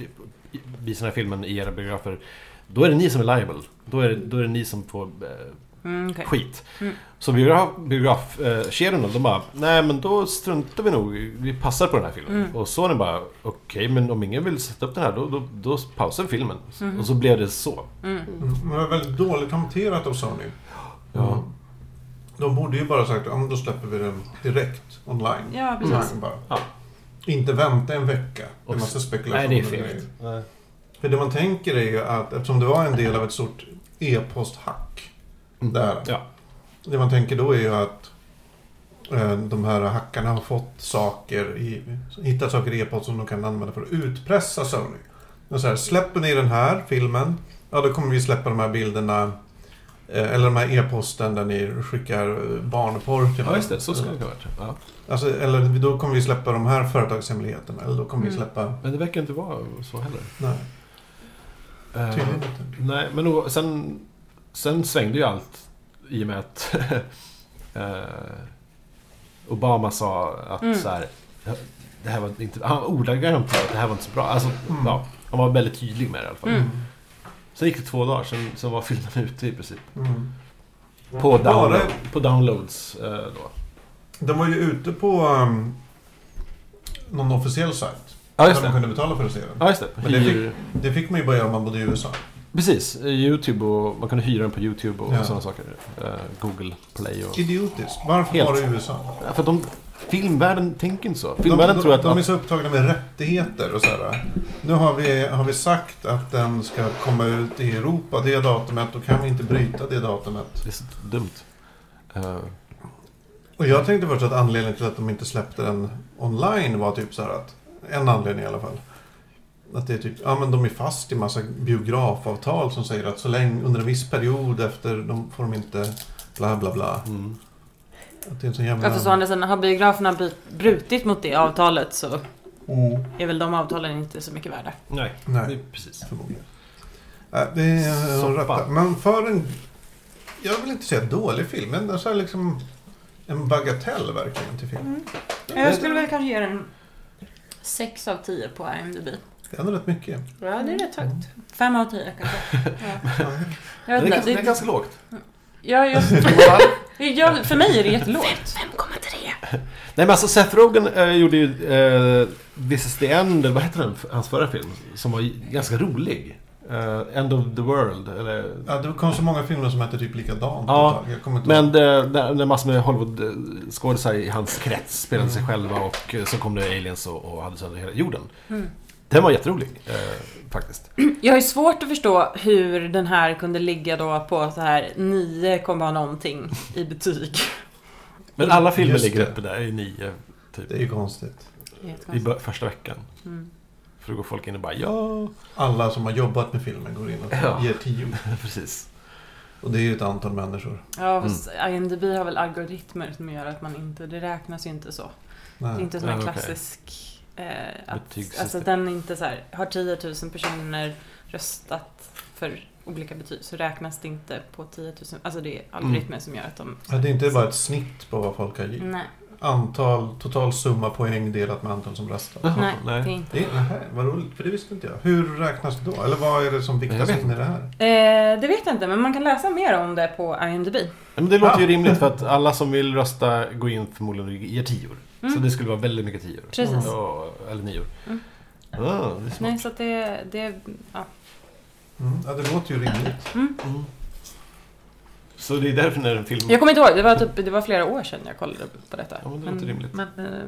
Speaker 4: i- visar den här filmen i era biografer då är det ni som är liable. Då är det, då är det ni som får eh,
Speaker 3: Mm, okej.
Speaker 4: skit. Så biografkedjorna, biograf, eh, kedjorna, de bara, nej men då struntar vi nog i- vi passar på den här filmen. Och Sony bara, okej men om ingen vill sätta upp den här då, då, då pausar vi filmen. Och så blev det så.
Speaker 2: Mm, Men det var väldigt dåligt hanterat av Sony. Mm.
Speaker 4: Ja.
Speaker 2: De borde ju bara sagt att då släpper vi den direkt online.
Speaker 3: Ja, precis.
Speaker 2: Online bara.
Speaker 4: Ja.
Speaker 2: Inte vänta en vecka. Det är
Speaker 4: Och-
Speaker 2: massa spekulationer.
Speaker 4: Nej det är
Speaker 2: och
Speaker 4: fel. Mm.
Speaker 2: grejer. För det man tänker är ju att eftersom det var en del av ett stort e-posthack.
Speaker 4: Mm.
Speaker 2: Där.
Speaker 4: Ja.
Speaker 2: Det man tänker då är ju att eh, de här hackarna har fått saker i, hittat saker i e-post som de kan använda för att utpressa Sony. Och så här, släpper ni den här filmen, ja då kommer vi släppa de här bilderna eh, eller de här e-posten där ni skickar eh, barnporr till
Speaker 4: Ja
Speaker 2: mig.
Speaker 4: just det, så skulle det ha varit. Ja.
Speaker 2: Alltså, eller då kommer vi släppa de här företagshemligheterna. Eller då kommer vi
Speaker 3: Mm.
Speaker 2: släppa...
Speaker 4: Men det verkar inte vara så heller.
Speaker 2: Nej,
Speaker 4: Eh,
Speaker 2: tydligen inte.
Speaker 4: nej men o- sen, sen svängde ju allt i och med att *laughs* eh, Obama sa att
Speaker 3: Mm.
Speaker 4: så här, det här var inte, han ordagrant sa att det här var inte så bra. Alltså,
Speaker 2: Mm.
Speaker 4: ja, han var väldigt tydlig med det i alla fall.
Speaker 3: Mm.
Speaker 4: Sen gick det två dagar, sen, sen var filmen *laughs* ute i princip.
Speaker 2: Mm.
Speaker 4: På,
Speaker 2: Bara-
Speaker 4: download, på downloads eh, då.
Speaker 2: Den var ju ute på um, någon officiell sajt.
Speaker 4: Ja,
Speaker 2: där man kunde betala för att se den.
Speaker 4: Ja, just det.
Speaker 2: Men det fick-
Speaker 4: Hyr,
Speaker 2: Det fick man ju bara göra om man bodde i USA.
Speaker 4: precis, eh, YouTube och man kunde hyra den på YouTube och
Speaker 2: Ja.
Speaker 4: sådana saker. Eh, Google Play och...
Speaker 2: Idiotiskt. Varför
Speaker 4: Helt.
Speaker 2: bara i USA?
Speaker 4: Ja, för de, filmvärlden tänker inte så.
Speaker 2: De,
Speaker 4: Filmvärlden
Speaker 2: de,
Speaker 4: tror att...
Speaker 2: de är
Speaker 4: att
Speaker 2: så upptagna med rättigheter och sådär. Nu har vi, har vi sagt att den ska komma ut i Europa det datumet. Då kan vi inte bryta det datumet.
Speaker 4: det är så dumt. Eh,
Speaker 2: Och jag tänkte först att anledningen till att de inte släppte den online var typ så här att... En anledning i alla fall. Att det är typ, ja men de är fast i massa biografavtal som säger att så länge, under en viss period efter, de får de inte bla bla bla.
Speaker 4: mm.
Speaker 2: Att det är en sån jävla...
Speaker 3: Jag förstår andra sidan, har biograferna by- brutit mot det avtalet så
Speaker 2: Mm.
Speaker 3: är väl de avtalen inte så mycket värda.
Speaker 4: Nej, det
Speaker 2: Nej,
Speaker 4: är precis.
Speaker 2: förmodligen. Nej, det är en
Speaker 4: Soppa.
Speaker 2: rätta. Men för en... Jag vill inte säga dålig film, men det är så här liksom... En bagatell verkligen till film.
Speaker 3: Mm. Jag skulle väl kanske ge den 6 av 10 på IMDB.
Speaker 2: Det är ändå rätt mycket. *laughs*
Speaker 5: Ja, det är rätt högt.
Speaker 3: 5 av 10 kanske.
Speaker 4: *laughs*
Speaker 3: Ja. Jag
Speaker 4: Men
Speaker 3: vet
Speaker 4: det, är ganska, det
Speaker 3: inte.
Speaker 4: är
Speaker 3: Det,
Speaker 4: ganska lågt.
Speaker 3: ja,
Speaker 4: *laughs*
Speaker 3: jag, *laughs* jag, för mig är det jättelågt.
Speaker 5: 5,3!
Speaker 4: Nej men alltså Seth Rogen eh, gjorde ju eh, This is the end, vad heter den? Hans förra film. Som var ganska rolig. Eh, end of the world, eller...
Speaker 2: Ja, det kom så många filmer som hette typ likadant.
Speaker 4: Ja,
Speaker 2: ett tag. jag kommer inte
Speaker 4: Men det, där, när massor med Hollywood-skådisar i hans krets spelade sig själva och eh, så kom det aliens och, och hade sönder hela jorden.
Speaker 3: Mm.
Speaker 4: Den var jätterolig, eh, faktiskt.
Speaker 3: Jag har ju svårt att förstå hur den här kunde ligga då på så här 9, någonting i *laughs* betyg.
Speaker 4: Men alla filmer
Speaker 2: Just
Speaker 4: ligger
Speaker 2: det.
Speaker 4: uppe där i nio, typ.
Speaker 2: Det är ju konstigt.
Speaker 4: I bör- första veckan.
Speaker 3: Mm.
Speaker 4: För då går folk in och bara ja,
Speaker 2: Alla som har jobbat med filmen går in och
Speaker 4: Ja.
Speaker 2: ger tio.
Speaker 4: precis.
Speaker 2: Och det är ju ett antal människor.
Speaker 3: Ja,
Speaker 4: Mm.
Speaker 3: fast IMDB har väl algoritmer som gör att man inte, det räknas ju inte så. Det är
Speaker 2: Nej.
Speaker 3: inte som en
Speaker 4: Ah, Ja, okej.
Speaker 3: klassisk... Eh, att,
Speaker 4: Betygssystem.
Speaker 3: alltså den är inte så här, har 10 000 personer röstat för olika betyg så räknas det inte på 10 000. Alltså det är
Speaker 4: Mm.
Speaker 3: algoritmer som gör att de...
Speaker 2: Ja, Det är inte bara ett snitt på vad folk har givit.
Speaker 3: Nej,
Speaker 2: Antal, total summa poäng delat med antal som röstar.
Speaker 4: Jaha,
Speaker 3: nej, det är
Speaker 4: nej.
Speaker 3: inte.
Speaker 2: Det är, nähä, vad roligt, för det visste inte jag. Hur räknas det då? Eller vad är det som
Speaker 4: Jag
Speaker 2: viktas
Speaker 4: vet
Speaker 2: in i det här?
Speaker 3: Eh, det vet jag inte, men man kan läsa mer om det på IMDB.
Speaker 4: Men det låter ju
Speaker 2: Ja.
Speaker 4: rimligt för att alla som vill rösta går in förmodligen och ger tior. Så
Speaker 3: Mm.
Speaker 4: det skulle vara väldigt mycket tior.
Speaker 3: Precis.
Speaker 4: Ja, eller nior.
Speaker 3: Mm.
Speaker 4: Ah, det är smart.
Speaker 3: Nej, så att det, det ja.
Speaker 2: Mm. Ja, det låter ju rimligt.
Speaker 4: Mm. Så det är därför när en film...
Speaker 3: Jag kommer inte ihåg, det var, typ, det var flera år sedan jag kollade på detta.
Speaker 4: Ja, men det låter rimligt.
Speaker 3: Men, eh,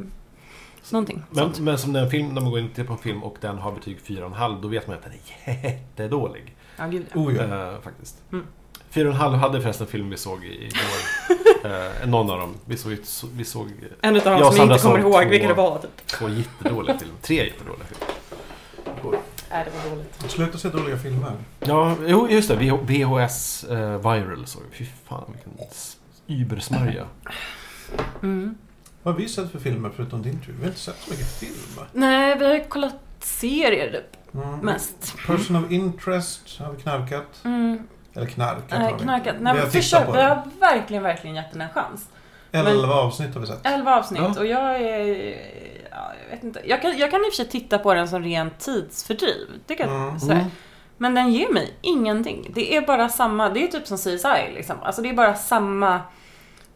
Speaker 3: någonting
Speaker 4: Men,
Speaker 3: sånt.
Speaker 4: men som den film, när man går in och tittar på en film och den har betyg 4,5 då vet man att den är jättedålig.
Speaker 3: Ja, gud ja.
Speaker 2: Oh, ja.
Speaker 4: Eh, faktiskt.
Speaker 3: Mm.
Speaker 4: 4,5 hade förresten en film vi såg i- igår.
Speaker 3: *laughs*
Speaker 4: eh, någon av dem. Vi såg, ju- så- vi såg
Speaker 3: En utav
Speaker 4: Jag
Speaker 3: dem som jag
Speaker 4: Sandra
Speaker 3: inte kommer
Speaker 4: såg
Speaker 3: ihåg
Speaker 4: två.
Speaker 3: vilken det var. Typ.
Speaker 4: två jättedåliga filmer. Tre jättedåliga filmer.
Speaker 5: Nej, Mm. Äh, det var dåligt.
Speaker 2: Sluta se dåliga filmer.
Speaker 4: Ja, jo, just det. VH- VHS eh, Viral såg vi. Fy fan vilken s- übersmörja.
Speaker 3: Mm.
Speaker 2: Vad har vi sett för filmer förutom din tur? Vi har inte sett så mycket film.
Speaker 3: Nej, vi har kollat serier typ,
Speaker 2: Mm.
Speaker 3: mest.
Speaker 2: Person of Interest har vi knarkat.
Speaker 3: Mm.
Speaker 2: Eller knarkat
Speaker 3: Nej,
Speaker 2: har vi.
Speaker 3: knarkat.
Speaker 2: Vi har
Speaker 3: Nej, men
Speaker 2: tittat
Speaker 3: försök.
Speaker 2: på
Speaker 3: Vi
Speaker 2: den.
Speaker 3: har verkligen, verkligen gett den en chans. men-
Speaker 2: Elva avsnitt har vi sett.
Speaker 3: 11 avsnitt
Speaker 4: Ja.
Speaker 3: och jag är... Ja, jag vet inte. Jag kan, jag kan i och för sig titta på den som rent tidsfördriv. Det kan,
Speaker 2: Mm.
Speaker 3: så här. Men den ger mig ingenting. Det är bara samma, det är typ som CSI liksom. Alltså det är bara samma...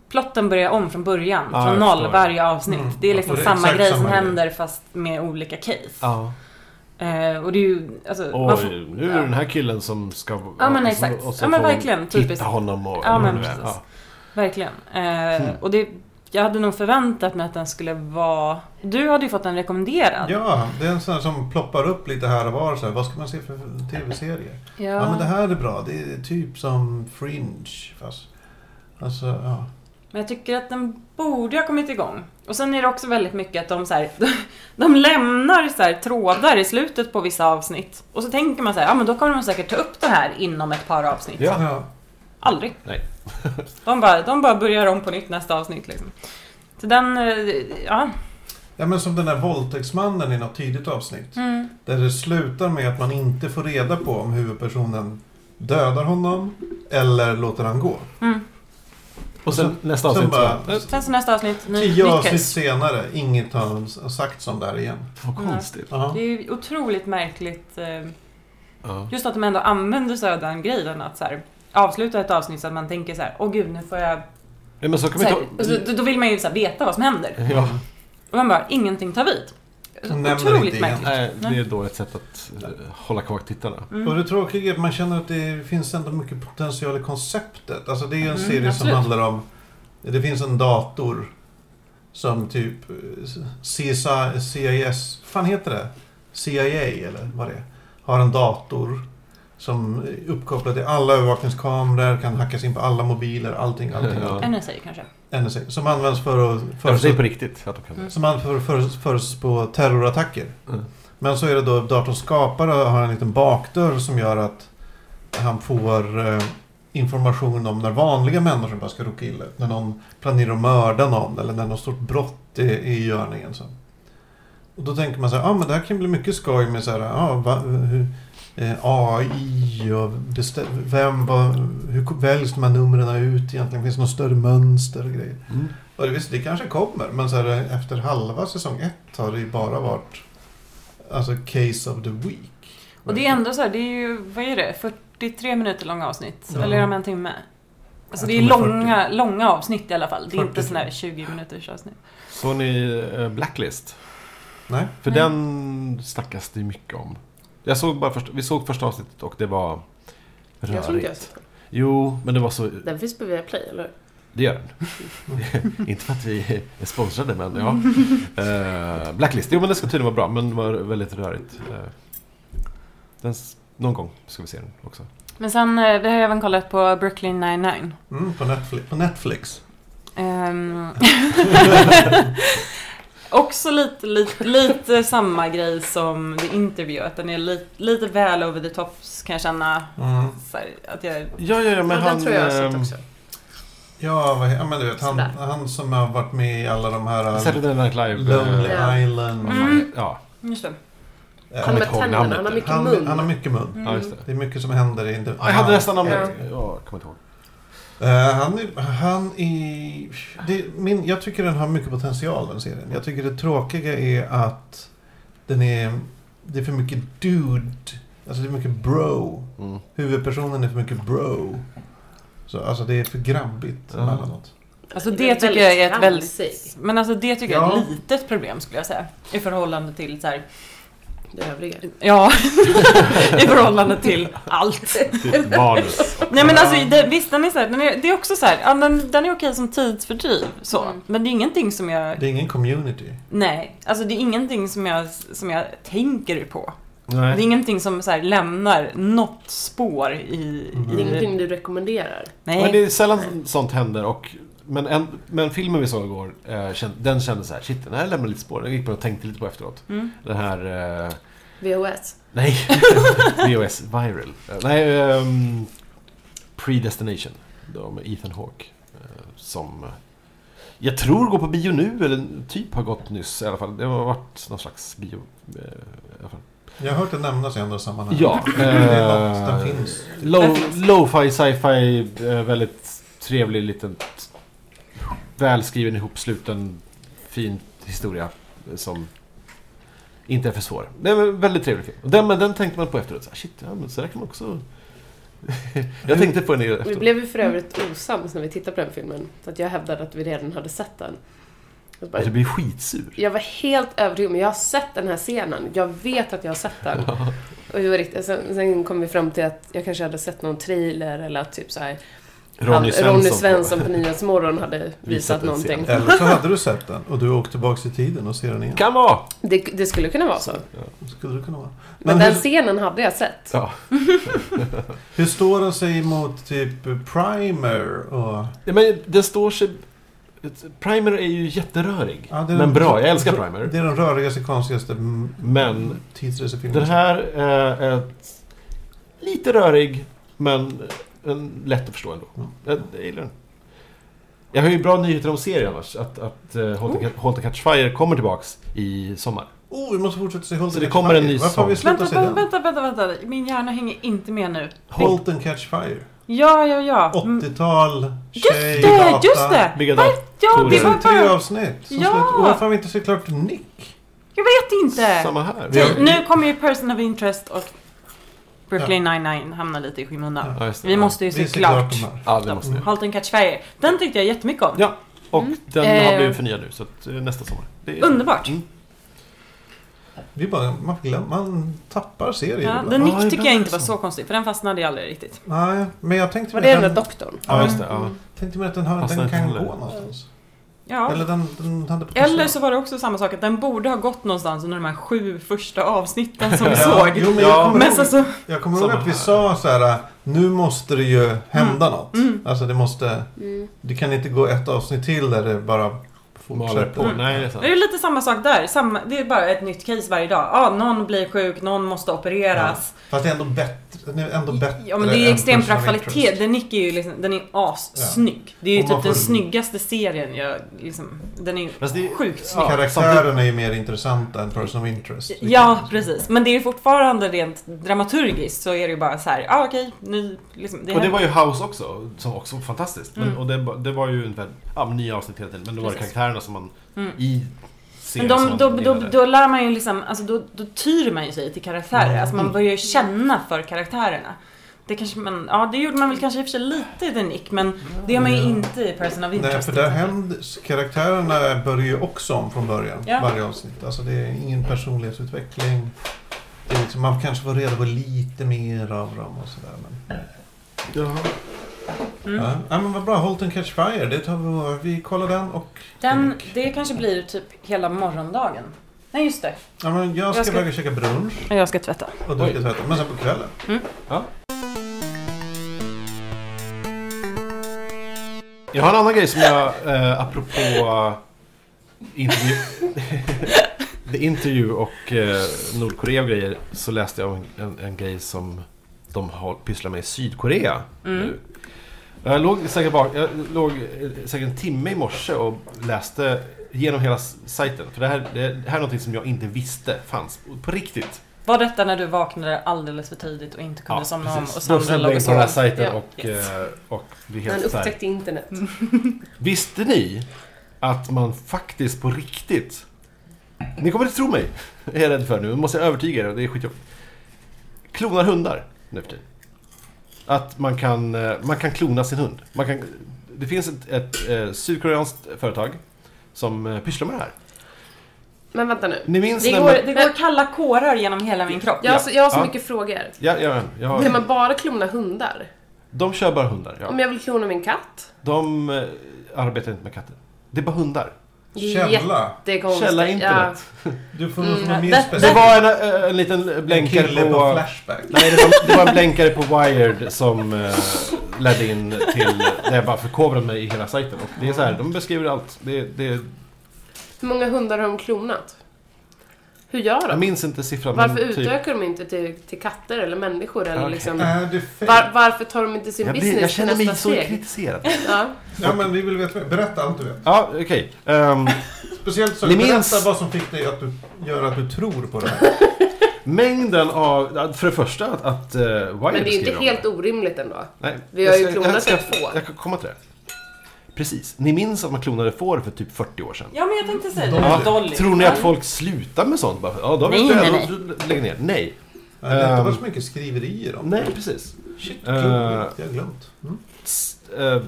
Speaker 3: Plotten börjar om från början,
Speaker 4: Ja,
Speaker 3: från
Speaker 4: jag
Speaker 3: noll
Speaker 4: förstår.
Speaker 3: varje avsnitt.
Speaker 2: Mm.
Speaker 3: Det är liksom
Speaker 2: Och det är
Speaker 3: samma
Speaker 2: exakt
Speaker 3: grej
Speaker 2: samma
Speaker 3: som
Speaker 2: grej.
Speaker 3: händer fast med olika case.
Speaker 4: Ja.
Speaker 3: Eh, och det är ju, alltså, man får-
Speaker 4: Oj, nu är det den här killen som ska...
Speaker 3: Ja, men
Speaker 4: och så-
Speaker 3: exakt.
Speaker 4: och så
Speaker 3: Ja, men
Speaker 4: får man
Speaker 3: verkligen,
Speaker 4: Titta
Speaker 3: typiskt.
Speaker 4: honom och...
Speaker 3: Ja, men
Speaker 4: och-
Speaker 3: precis. Verkligen. Eh, Och det, jag hade nog förväntat mig att den skulle vara... Du hade ju fått den rekommenderad.
Speaker 2: Ja, det är en sån här som ploppar upp lite här och var. Så här. Vad ska man se för tv-serier?
Speaker 3: Ja.
Speaker 2: Ja. men det här är bra. Det är typ som Fringe. Fast. Alltså, ja.
Speaker 3: Men jag tycker att den borde ha kommit igång. Och sen är det också väldigt mycket att de så här, *laughs* de lämnar så här trådar i slutet på vissa avsnitt. Och så tänker man så här, ja men då kommer de säkert ta upp det här inom ett par avsnitt.
Speaker 4: Ja.
Speaker 2: ja.
Speaker 3: Aldrig.
Speaker 2: *laughs*
Speaker 4: Nej.
Speaker 3: De bara, de bara börjar om på nytt nästa avsnitt liksom. Så den, eh, ja.
Speaker 2: Ja men som den där våldtäktsmannen i något tidigt avsnitt.
Speaker 3: Mm.
Speaker 2: Där det slutar med att man inte får reda på om huvudpersonen dödar honom eller låter han gå.
Speaker 3: Mm.
Speaker 4: Och sen nästa
Speaker 2: Sen
Speaker 4: avsnitt
Speaker 2: bara,
Speaker 4: så...
Speaker 3: Sen så nästa avsnitt, ny,
Speaker 2: tio
Speaker 3: nytt
Speaker 2: avsnitt
Speaker 3: case.
Speaker 2: senare, inget har s- sagts om det här igen.
Speaker 4: Vad konstigt.
Speaker 2: Ja.
Speaker 3: Det är ju otroligt märkligt. eh,
Speaker 4: Ja.
Speaker 3: Just att de ändå använder sig av den grejen att så här, avsluta ett avsnitt så att man tänker så här, åh gud nu får jag
Speaker 4: Ja, men så kan
Speaker 3: Så
Speaker 4: vi
Speaker 3: här,
Speaker 4: ta...
Speaker 3: alltså, då- då vill man ju så här, veta vad som händer.
Speaker 4: Ja,
Speaker 3: Och man bara, ingenting tar vid.
Speaker 2: Nämner
Speaker 3: Otroligt
Speaker 2: inte igen.
Speaker 3: märkligt. Mm.
Speaker 4: nej, det är ett dåligt sätt att eh, hålla kvar tittarna.
Speaker 2: Och det tråkiga är att man känner att det finns ändå mycket potential i konceptet. Alltså det är ju en
Speaker 3: Mm,
Speaker 2: serie som
Speaker 3: absolut.
Speaker 2: handlar om... Det finns en dator som typ eh, CSI, CIS... fan heter det? CIA eller vad det är. Har en dator som är uppkopplad till alla övervakningskameror, kan hackas in på alla mobiler, allting, allting.
Speaker 4: Ja.
Speaker 2: allting.
Speaker 3: En essay kanske.
Speaker 2: NSA, som används för att...
Speaker 4: För det är på
Speaker 2: För,
Speaker 4: riktigt att de kan
Speaker 3: Mm.
Speaker 4: det.
Speaker 2: som används för, för, för, på terrorattacker.
Speaker 4: Mm.
Speaker 2: Men så är det då datorns skapare har en liten bakdörr som gör att han får eh, information om när vanliga människor bara ska råka illa ut. När någon planerar att mörda någon eller när något stort brott är är i görningen. Så. Och då tänker man så här, ah, men det här kan bli mycket skoj med så här, ah, va, hur, eh, AI och bestä- vem, vad, hur väljs de här numren ut egentligen? Finns det något större mönster och grejer?
Speaker 4: Mm.
Speaker 2: Och det, visst, det kanske kommer, men så här, efter halva säsong ett har det ju bara varit alltså case of the week.
Speaker 3: Och det är ändå så här, det är ju, vad är det, 43 minuter långa avsnitt?
Speaker 2: Ja.
Speaker 3: Eller om en timme? Alltså
Speaker 2: Jag
Speaker 3: det är
Speaker 2: tror det är
Speaker 3: långa, långa avsnitt i alla fall. Det är inte
Speaker 2: 40.
Speaker 3: sådana här 20 minuters avsnitt.
Speaker 4: Såg ni eh, Blacklist?
Speaker 2: Nej.
Speaker 4: För
Speaker 5: Mm.
Speaker 3: Nej.
Speaker 4: den snackas det ju mycket om. Jag såg bara först, vi såg första avsnittet och det var
Speaker 5: Jag tror inte
Speaker 4: rörigt.
Speaker 5: jag sett den.
Speaker 4: Jo, men det var så...
Speaker 5: Den finns på Viaplay, eller hur?
Speaker 4: Det gör den. *laughs* inte för att vi är sponsrade, men ja. Eh, Blacklist. Jo, men det ska tydligen vara bra, men det var väldigt rörigt. Eh, den, s- någon gång ska vi se den också.
Speaker 3: Men sen, eh, vi har ju även kollat på Brooklyn 99.
Speaker 2: Mm, på Netflix. På Netflix. *laughs*
Speaker 3: Ehm. Också lite, lite, lite samma grej som The Interview, att den är lite, lite väl over the top kan jag känna.
Speaker 2: Mm.
Speaker 3: Så här, att jag
Speaker 4: Ja, ja, ja, men
Speaker 5: Men
Speaker 4: han...
Speaker 5: den tror jag har sett
Speaker 4: ehm,
Speaker 5: också.
Speaker 2: Ja, vad, he- ja, men du vet, han,
Speaker 5: Sådär.
Speaker 2: han som har varit med i alla de här eh,
Speaker 4: Saturday Night Live. eh,
Speaker 2: Lonely
Speaker 5: Ja.
Speaker 2: Island.
Speaker 4: vad fan
Speaker 3: Mm.
Speaker 4: Ja,
Speaker 3: Just det.
Speaker 2: Eh,
Speaker 5: Han
Speaker 4: kommer
Speaker 5: med
Speaker 4: inte ihåg
Speaker 5: tänderna,
Speaker 4: namnet.
Speaker 5: han har mycket
Speaker 2: han,
Speaker 5: mun.
Speaker 2: han har mycket
Speaker 3: Mm.
Speaker 2: mun.
Speaker 4: ja, just det.
Speaker 2: Det är mycket som händer i intervjun.
Speaker 4: Ja, jag hade nästan namnet.
Speaker 5: Ja.
Speaker 4: Ja, kommer inte ihåg.
Speaker 2: Eh, han är... Han är det, min, jag tycker den har mycket potential den serien. Jag tycker det tråkiga är att den är... Det är för mycket dude. Alltså det är mycket bro.
Speaker 5: *laughs*
Speaker 4: Mm.
Speaker 2: Huvudpersonen är för mycket bro. Så, alltså det är för grabbigt
Speaker 4: Ja.
Speaker 2: emellanåt.
Speaker 3: Alltså
Speaker 5: Den
Speaker 3: det tycker jag är ett
Speaker 5: tramsig.
Speaker 3: väldigt... Men alltså det tycker jag är ett
Speaker 2: Ja.
Speaker 3: litet problem skulle jag säga. I förhållande till så här,
Speaker 5: det övriga.
Speaker 3: Ja, *laughs* i förhållande till allt.
Speaker 4: Ditt Typ manus.
Speaker 3: Nej men alltså det, visst, den är så här, den är, det är också så här, ja, den, den är okej som tidsfördriv så.
Speaker 5: Mm.
Speaker 3: Men det är ingenting som jag,
Speaker 2: Det är ingen community.
Speaker 3: nej, alltså det är ingenting som jag, som jag tänker på. Det är
Speaker 4: Nej.
Speaker 3: ingenting som så här, lämnar något spår i...
Speaker 2: Mm.
Speaker 5: Det
Speaker 3: i
Speaker 5: är ingenting du rekommenderar.
Speaker 4: Men
Speaker 3: Nej.
Speaker 4: det är sällan sånt händer och men, en, men filmen vi såg igår, eh, känd, den kände så här, shit den här lämnar lite spår. Jag gick på och tänkte lite på efteråt.
Speaker 3: Mm.
Speaker 4: Den här... Eh,
Speaker 5: VHS.
Speaker 4: nej. *laughs* VOS Viral. Eh, nej, ehm, Predestination. Då med Ethan Hawke. Eh, som eh, jag tror går på bio nu, eller typ har gått nyss i alla fall. Det har varit någon slags bio. Eh, i alla fall.
Speaker 2: Jag har hört det nämnas i andra sammanhang.
Speaker 4: Ja. eh.
Speaker 2: Det är något, den finns.
Speaker 4: Low,
Speaker 3: Den finns.
Speaker 4: lo-fi, sci-fi, eh, väldigt trevlig liten t- välskriven ihopsluten fin historia eh, som inte är för svår. Det är en väldigt trevlig film. Och Den, men den tänkte man på efteråt. Så här, Shit, ja, men så där kan man också... *laughs* jag tänkte på den i-
Speaker 5: Vi
Speaker 4: efteråt.
Speaker 5: blev ju för övrigt osams när vi tittade på den filmen. Så att jag hävdade att vi redan hade sett den. Jag, bara,
Speaker 4: Alltså, Jag blir skitsur.
Speaker 5: jag var helt övertygad men jag har sett den här scenen. Jag vet att jag har sett den. Och vi var riktigt, sen, sen kom vi fram till att jag kanske hade sett någon trailer eller att typ så här, han- Ronny Svensson på Nyhetsmorgon hade visat,
Speaker 4: Visat en
Speaker 5: någonting.
Speaker 2: Eller så hade du sett den och du åkte tillbaka i tiden och ser den
Speaker 4: *laughs*
Speaker 2: igen.
Speaker 4: Kan vara!
Speaker 5: Det, det skulle kunna vara så.
Speaker 2: Skulle du kunna vara.
Speaker 5: Men,
Speaker 2: Men
Speaker 5: den
Speaker 2: hur-
Speaker 5: scenen hade jag sett.
Speaker 4: Ja.
Speaker 2: Hur står den sig mot typ Primer och...
Speaker 4: Ja, men den står sig... Primer är ju jätterörig.
Speaker 2: Ja, det är
Speaker 4: men
Speaker 2: den-
Speaker 4: bra, jag älskar Primer.
Speaker 2: Det är den rörigaste, konstigaste mm,
Speaker 4: Men-
Speaker 2: tidsresefilmen.
Speaker 4: Den här eh, är ett, lite rörig, men en, lätt att förstå ändå.
Speaker 2: Mm.
Speaker 4: Jag, jag gillar den. Jag har ju bra nyheter om serien annars. Att, att eh, Halt
Speaker 3: Oh.
Speaker 4: and Ca- Halt and Catch Fire kommer tillbaks i sommar.
Speaker 2: Oh, vi måste fortsätta se Holt
Speaker 4: Så
Speaker 2: and
Speaker 4: det
Speaker 2: Catch
Speaker 4: kommer en
Speaker 2: Fire.
Speaker 4: ny
Speaker 2: Varför har vi
Speaker 4: säsong.
Speaker 2: slutat
Speaker 3: Vänta,
Speaker 2: se
Speaker 3: vänta,
Speaker 2: den?
Speaker 3: vänta, vänta, vänta, min hjärna hänger inte med nu.
Speaker 2: Holt and Catch Fire.
Speaker 3: Ja, ja, ja. Mm.
Speaker 2: 80-tal,
Speaker 3: Just
Speaker 2: tjej,
Speaker 3: det,
Speaker 2: data.
Speaker 3: just det!
Speaker 4: Vilka
Speaker 3: Vad- Ja, det
Speaker 4: datorer?
Speaker 3: var
Speaker 2: Tre
Speaker 3: bara...
Speaker 2: avsnitt. som
Speaker 3: Ja.
Speaker 2: slut. Och varför har vi inte sett klart Nick?
Speaker 3: Jag vet inte!
Speaker 4: Samma här.
Speaker 2: Vi har-
Speaker 3: Ty- Nu kommer ju Person of Interest och Brooklyn 99 hamna lite i
Speaker 2: Ja.
Speaker 3: skymundan.
Speaker 4: Ja, just det.
Speaker 3: Vi måste ju
Speaker 2: Vi
Speaker 3: se
Speaker 2: ser klart
Speaker 3: klart
Speaker 2: de här.
Speaker 4: Ja, det måste vi.
Speaker 3: Halt and Catch Fire. Den tyckte jag jättemycket om.
Speaker 4: Ja. Och den har
Speaker 5: Eh.
Speaker 4: blivit förnyad nu, så att, eh, nästa sommar. Det är-
Speaker 3: Mm. Underbart.
Speaker 4: Mm.
Speaker 2: Vi bara, man, glöm, man tappar serier
Speaker 3: Ja,
Speaker 2: ibland.
Speaker 3: den
Speaker 4: Ja, det liksom.
Speaker 3: Nick tycker jag
Speaker 4: blir
Speaker 3: inte var
Speaker 4: så.
Speaker 3: så konstig, för den fastnade jag aldrig riktigt.
Speaker 2: Nej, men jag tänkte
Speaker 5: Var
Speaker 2: mig
Speaker 5: det
Speaker 2: att
Speaker 5: den där
Speaker 2: den,
Speaker 5: doktorn?
Speaker 4: Ja, just det. Ja.
Speaker 5: Mm.
Speaker 2: tänkte mig att den, har,
Speaker 4: Fastnar
Speaker 2: den
Speaker 4: inte
Speaker 2: kan
Speaker 4: heller.
Speaker 2: gå någonstans.
Speaker 3: Ja.
Speaker 2: Eller den, den hade potential.
Speaker 3: Eller så var det också samma sak att den borde ha gått någonstans under de här sju första avsnitten som vi
Speaker 2: Ja,
Speaker 3: såg.
Speaker 2: Jo, men
Speaker 4: Ja.
Speaker 2: jag kommer
Speaker 3: Men
Speaker 2: ihåg-
Speaker 3: sen så...
Speaker 2: Jag kommer ihåg
Speaker 4: Samma
Speaker 2: att vi
Speaker 4: här.
Speaker 2: sa så här, nu måste det ju hända något.
Speaker 3: Mm.
Speaker 2: Alltså det måste,
Speaker 5: Mm.
Speaker 2: det kan inte gå ett avsnitt till där det bara fortsätter.
Speaker 4: Maler på. Nej, det är sant.
Speaker 3: Det är lite samma sak där. Samma, det är bara ett nytt case varje dag. Ja, någon blir sjuk, någon måste opereras.
Speaker 2: Fast det är ändå bättre. Det är ändå bättre
Speaker 3: Ja, men det är
Speaker 2: än
Speaker 3: extremt bra
Speaker 2: Personal
Speaker 3: kvalitet.
Speaker 2: Interest.
Speaker 3: Den Nick är ju liksom, den är assnygg. Det är ju
Speaker 2: Om man
Speaker 3: typ den
Speaker 2: får-
Speaker 3: snyggaste serien jag liksom, Den är
Speaker 4: Fast det-
Speaker 3: sjukt snygg.
Speaker 4: Ja,
Speaker 2: Karaktärerna är ju mer intressanta än Person of Interest.
Speaker 3: Ja, precis. Men det är ju fortfarande rent dramaturgiskt så är det ju bara så här, ja ah, okej, nu liksom, det
Speaker 4: Och det
Speaker 3: händer.
Speaker 4: var ju House också, som också var fantastiskt. Men,
Speaker 3: Mm.
Speaker 4: Och det, ba- det var ju inte ja, men nya avsnitt hela tiden, men då var det
Speaker 3: Precis.
Speaker 4: karaktärerna som man
Speaker 3: Mm.
Speaker 4: i serien
Speaker 3: Men de,
Speaker 4: som
Speaker 3: då,
Speaker 4: man
Speaker 3: då,
Speaker 4: gillade.
Speaker 3: då lär man ju liksom, alltså då, då tyr man ju sig till karaktärer.
Speaker 2: Mm.
Speaker 3: Alltså man börjar ju känna för karaktärerna. Det kanske man, ja det gjorde man väl kanske i och för sig lite i The Nick, men det gör man ju
Speaker 2: Ja.
Speaker 4: Mm.
Speaker 3: inte i Person of Interest.
Speaker 2: Nej, för
Speaker 3: till
Speaker 2: där
Speaker 3: exempel.
Speaker 2: händer, karaktärerna börjar ju också om från början.
Speaker 3: Ja.
Speaker 2: Varje avsnitt. Alltså det är ingen personlighetsutveckling. Det är liksom, man kanske får reda på lite mer av dem och sådär. Men...
Speaker 3: Mm.
Speaker 2: Ja. ja, men vad bra. Halt and Catch Fire. Det tar vi, vi kollar den och...
Speaker 3: Den, det kanske blir typ hela morgondagen. Nej just det.
Speaker 2: Ja, men jag ska
Speaker 3: Jag ska-
Speaker 2: iväg och käka brunch
Speaker 3: Jag ska tvätta.
Speaker 2: och du
Speaker 4: Oj.
Speaker 2: ska tvätta. Men sen på kvällen.
Speaker 4: Jag har en annan grej som jag, eh, apropå intervju, *laughs* The interview och eh, Nordkorea och grejer, så läste jag om en, en grej som de har, pysslar med i Sydkorea.
Speaker 3: Mm.
Speaker 4: nu. Eh, Jag låg, säkert bak, jag låg eh, säkert en timme i morse och läste genom hela s- sajten. För det här, det här är någonting som jag inte visste fanns på riktigt.
Speaker 3: Var detta när du vaknade alldeles för tidigt och inte kunde somna om och
Speaker 4: precis.
Speaker 3: Sandra
Speaker 4: Då
Speaker 3: låg och
Speaker 4: jag på den här
Speaker 3: sov?
Speaker 4: sajten
Speaker 5: Ja,
Speaker 4: och,
Speaker 3: yes.
Speaker 4: eh, och blev
Speaker 5: Han
Speaker 4: helt så här.
Speaker 5: upptäckte internet.
Speaker 4: Visste ni att man faktiskt på riktigt... Ni kommer inte tro mig, *laughs* är jag rädd för nu. Nu måste jag övertyga er och det är skitjobbigt. Klonar hundar nu för tiden. Att man kan, eh, man kan klona sin hund. Man kan, det finns ett, ett eh, sydkoreanskt företag som eh, pysslar med det här.
Speaker 5: Men vänta nu.
Speaker 4: Ni minns
Speaker 3: Det
Speaker 4: när
Speaker 3: går,
Speaker 4: man-
Speaker 3: det går kalla kårar genom hela min kropp.
Speaker 5: Jag har så, jag har så
Speaker 4: Ja.
Speaker 5: mycket frågor.
Speaker 4: Ja, ja, ja.
Speaker 5: Kan man bara klona hundar?
Speaker 4: De kör bara hundar. Ja.
Speaker 5: Om jag vill klona min katt?
Speaker 4: De eh, arbetar inte med katter. Det är bara hundar.
Speaker 2: Källa.
Speaker 5: Jättekonstigt.
Speaker 4: Källa internet.
Speaker 2: Du får
Speaker 5: Mm,
Speaker 2: mm, något mer
Speaker 3: det-
Speaker 4: Det
Speaker 2: specifikt.
Speaker 4: var en, eh, en liten
Speaker 2: En
Speaker 4: blänkare
Speaker 2: kille
Speaker 4: på...
Speaker 2: på Flashback.
Speaker 4: Nej, det var, det var en blänkare på Wired som eh, ledde in till... Där jag bara förkovrade mig i hela sajten. Och det är så här, de beskriver allt. Det, det,
Speaker 5: Ja. Hur många hundar har de klonat? Hur gör
Speaker 4: jag
Speaker 5: de?
Speaker 4: minns inte siffran. men typ-
Speaker 5: Varför utökar de inte till, till katter eller människor? Eller
Speaker 4: Okej.
Speaker 5: liksom,
Speaker 2: Är Äh, det fel?
Speaker 5: var, varför tar de inte sin
Speaker 4: jag,
Speaker 5: business
Speaker 4: blir, jag
Speaker 5: till
Speaker 4: känner mig så
Speaker 5: nästa steg?
Speaker 4: kritiserad.
Speaker 5: Ja.
Speaker 2: Ja, men vi vill veta mer. Berätta allt du vet.
Speaker 4: Ja, okej. Ehm,
Speaker 2: Speciellt så
Speaker 4: Ni
Speaker 2: berätta
Speaker 4: minns-
Speaker 2: vad som fick dig att du gör att du tror på det här. Äh,
Speaker 4: mängden av... För det första att, att eh, Wired
Speaker 5: Men det är ju
Speaker 4: skriver
Speaker 5: inte
Speaker 4: om
Speaker 5: helt orimligt ändå.
Speaker 4: Nej,
Speaker 5: Vi
Speaker 4: jag
Speaker 5: har ju
Speaker 4: ska-
Speaker 5: klonat
Speaker 4: jag ska-
Speaker 5: ett får.
Speaker 4: Jag kan komma till det. Precis. Ni minns att man klonade får för typ 40 år sedan?
Speaker 3: Ja, men jag tänkte säga
Speaker 2: Dolly.
Speaker 3: det. Dolly.
Speaker 4: Tror ni att folk slutar med sånt? Bara, för- ja, då har vi
Speaker 3: Nej,
Speaker 4: dödat-
Speaker 3: nej,
Speaker 4: Lägg ner. Nej.
Speaker 2: Det har inte
Speaker 4: Ehm.
Speaker 2: varit så mycket skriverier om
Speaker 4: Nej, precis.
Speaker 2: Shit,
Speaker 4: Eh.
Speaker 2: klokt. Jag har glömt. Mm.
Speaker 4: S- eh,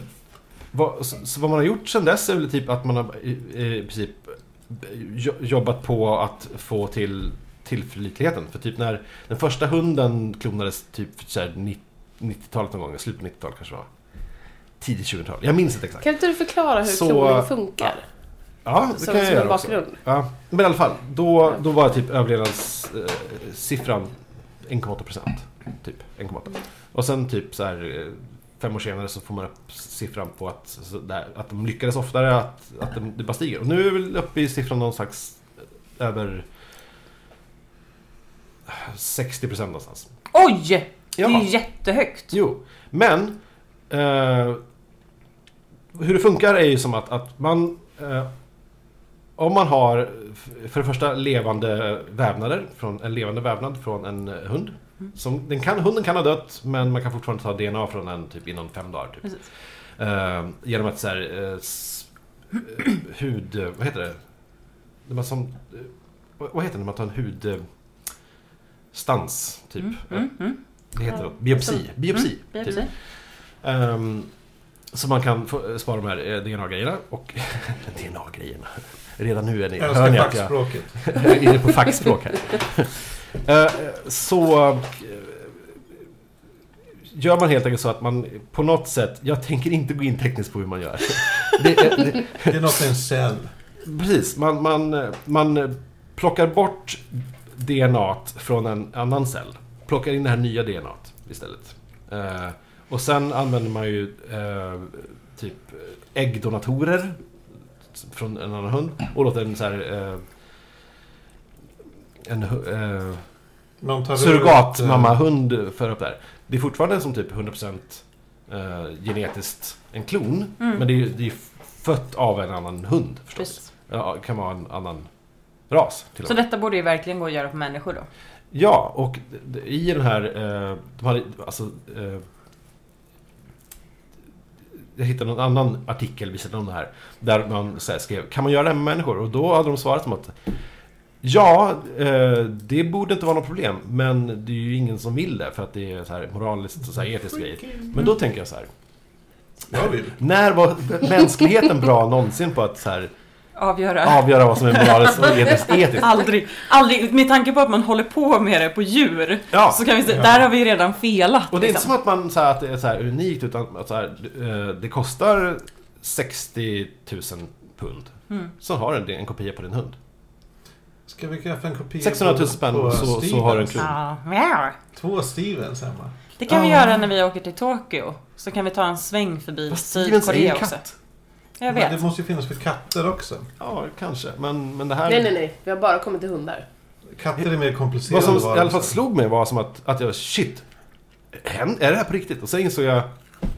Speaker 4: vad, så, så vad man har gjort sedan dess är väl typ att man har i, i princip jo- jobbat på att få till tillförlitligheten. För typ när den första hunden klonades typ så här nitt- 90-talet någon gång, slutet på 90-talet kanske det var. Tidigt 2000-tal. Jag minns inte exakt.
Speaker 5: Kan inte du förklara hur
Speaker 4: Så-
Speaker 5: kloning funkar?
Speaker 4: Ja, det
Speaker 5: som
Speaker 4: kan jag
Speaker 5: som en
Speaker 4: göra också.
Speaker 5: bakgrund.
Speaker 4: Ja, men i alla fall. Då, då var typ överlevnadssiffran eh, siffran 1,8 procent. Typ 1,8. Och sen typ så här eh, fem år senare så får man upp siffran på att, så där, att de lyckades oftare, att, att de, det bara stiger. Och nu är vi väl uppe i siffran någon slags eh, över 60 procent någonstans.
Speaker 3: Oj! Det är
Speaker 4: Ja.
Speaker 3: ju jättehögt.
Speaker 4: Jo, men eh, hur det funkar är ju som att, att man eh, om man har f- för det första levande vävnader från en levande vävnad från en eh, hund.
Speaker 3: Mm.
Speaker 4: Som, den kan, hunden kan ha dött men man kan fortfarande ta DNA från den typ inom fem dagar. Typ.
Speaker 3: Precis.
Speaker 4: Eh, genom att så här, eh, s, eh, hud... eh, Vad heter det? det man som, eh, vad vad heter det när man tar en hud... Eh, stans, typ.
Speaker 3: Mm, mm, mm.
Speaker 4: Det heter
Speaker 5: Ja,
Speaker 4: något. Biopsi.
Speaker 5: absolut.
Speaker 4: Biopsi.
Speaker 3: Det är
Speaker 4: Typ.
Speaker 3: precis.
Speaker 4: Ehm, så man kan få, eh, spara de här eh, DNA-grejerna och... *laughs* DNA-grejerna. Redan nu är ni,
Speaker 2: Jag
Speaker 4: hör ni
Speaker 2: älskar
Speaker 4: att jag
Speaker 2: fackspråket.
Speaker 4: *laughs* är inne på fackspråk här. Eh, så... eh, Gör man helt enkelt så att man på något sätt... Jag tänker inte gå in tekniskt på hur man gör. Det, det,
Speaker 2: Det är något i en cell.
Speaker 4: Precis, man, man, man plockar bort DNA t från en annan cell. Plockar in det här nya DNA t istället. Eh, och sen använder man ju eh, typ äggdonatorer från en annan hund och låter en så här... Eh, en hu- eh,
Speaker 2: Man tar ut, eh,
Speaker 4: surrogatmammahund föra upp där. Det är fortfarande som typ 100% eh, genetiskt en klon.
Speaker 3: Mm.
Speaker 4: Men det är ju det är fött av en annan hund förstås.
Speaker 3: Precis.
Speaker 4: Ja, det kan vara en annan ras. Till och
Speaker 3: Så
Speaker 4: med.
Speaker 3: detta borde ju verkligen gå att göra på människor då.
Speaker 4: Ja, och d- d- i den här... eh, De hade, alltså, eh, jag hittade någon annan artikel vid sidan om det här. Där man så här, skrev, kan man göra det här med människor? Och då hade de svarat som att Ja, eh, det borde inte vara något problem. Men det är ju ingen som vill det för att det är så här moraliskt och så här etiskt grejer. Men då tänker jag så här.
Speaker 2: Jag vill.
Speaker 4: När var mänskligheten bra någonsin på att så här,
Speaker 3: Avgöra.
Speaker 4: avgöra vad som är moraliskt och etiskt? etiskt?
Speaker 3: *laughs* Aldrig, aldrig. Med tanke på att man håller på med det på djur.
Speaker 4: Ja.
Speaker 3: Så kan vi säga,
Speaker 2: Ja.
Speaker 3: där har vi ju redan felat.
Speaker 4: Och det är inte
Speaker 3: liksom.
Speaker 4: som att man så här, att det är så här unikt utan att så här, eh, det kostar 60 000 pund.
Speaker 3: Mm.
Speaker 4: Så har du en kopia på din hund.
Speaker 2: Ska vi skaffa en kopia
Speaker 4: 600 000
Speaker 2: på-
Speaker 4: spänn
Speaker 2: på
Speaker 4: så, så
Speaker 2: Stevens?
Speaker 4: har du en klon.
Speaker 3: Ja, mjau.
Speaker 2: Två Stevens hemma.
Speaker 3: Det kan vi
Speaker 4: Ja.
Speaker 3: göra när vi åker till Tokyo. Så kan vi ta en sväng förbi
Speaker 4: Fast Stevens är ju
Speaker 3: Sydkorea
Speaker 4: en
Speaker 3: också.
Speaker 4: katt.
Speaker 3: Jag
Speaker 2: Men
Speaker 3: vet.
Speaker 2: det måste ju finnas för katter också.
Speaker 4: Ja, kanske. Men, men det här...
Speaker 5: Nej, nej, nej. Vi har bara kommit till hundar.
Speaker 2: Katter är mer komplicerade
Speaker 4: Vad som i alla fall
Speaker 2: varelser.
Speaker 4: slog mig var som att, att jag shit. hän- Är det här på riktigt? Och sen insåg jag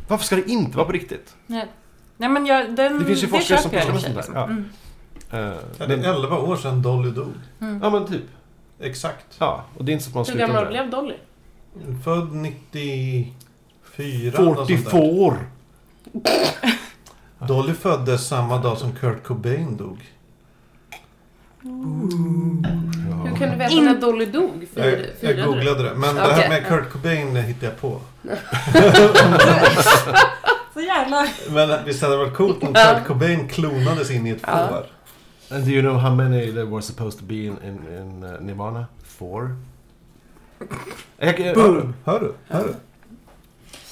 Speaker 4: varför ska det inte vara på riktigt?
Speaker 3: Nej. Nej men jag, den,
Speaker 4: Det finns ju forskare som
Speaker 3: köper jag i och
Speaker 4: pysslar
Speaker 3: för
Speaker 4: med
Speaker 3: sig,
Speaker 4: sånt där.
Speaker 3: liksom.
Speaker 4: Ja.
Speaker 3: Mm.
Speaker 4: Eh,
Speaker 2: Ja, Det
Speaker 4: men-
Speaker 2: är 11 år sedan Dolly dog.
Speaker 3: Mm.
Speaker 4: ja men typ.
Speaker 2: Exakt.
Speaker 4: Ja, och det är inte så att man
Speaker 5: Hur
Speaker 4: slutar
Speaker 5: gammal
Speaker 4: med det.
Speaker 5: blev Dolly?
Speaker 2: Född 94. något sånt där.
Speaker 4: 44!
Speaker 2: Dolly föddes samma dag som Kurt Cobain dog.
Speaker 5: Hur kan du veta
Speaker 3: In-
Speaker 5: när Dolly dog?
Speaker 2: Jag,
Speaker 5: Fir-
Speaker 2: jag
Speaker 5: firade du?
Speaker 2: googlade det. Men det här
Speaker 5: Okej.
Speaker 2: med Kurt Cobain det hittade jag på.
Speaker 3: Så jävla...
Speaker 2: Men visst hade det varit coolt om
Speaker 5: Ja.
Speaker 2: Kurt Cobain klonades in i ett
Speaker 5: Ja.
Speaker 2: får?
Speaker 4: And do you know how many there were supposed to be in, in, in uh, Nirvana? Four? Jag, jag,
Speaker 2: Boom! Hör du? Hör du?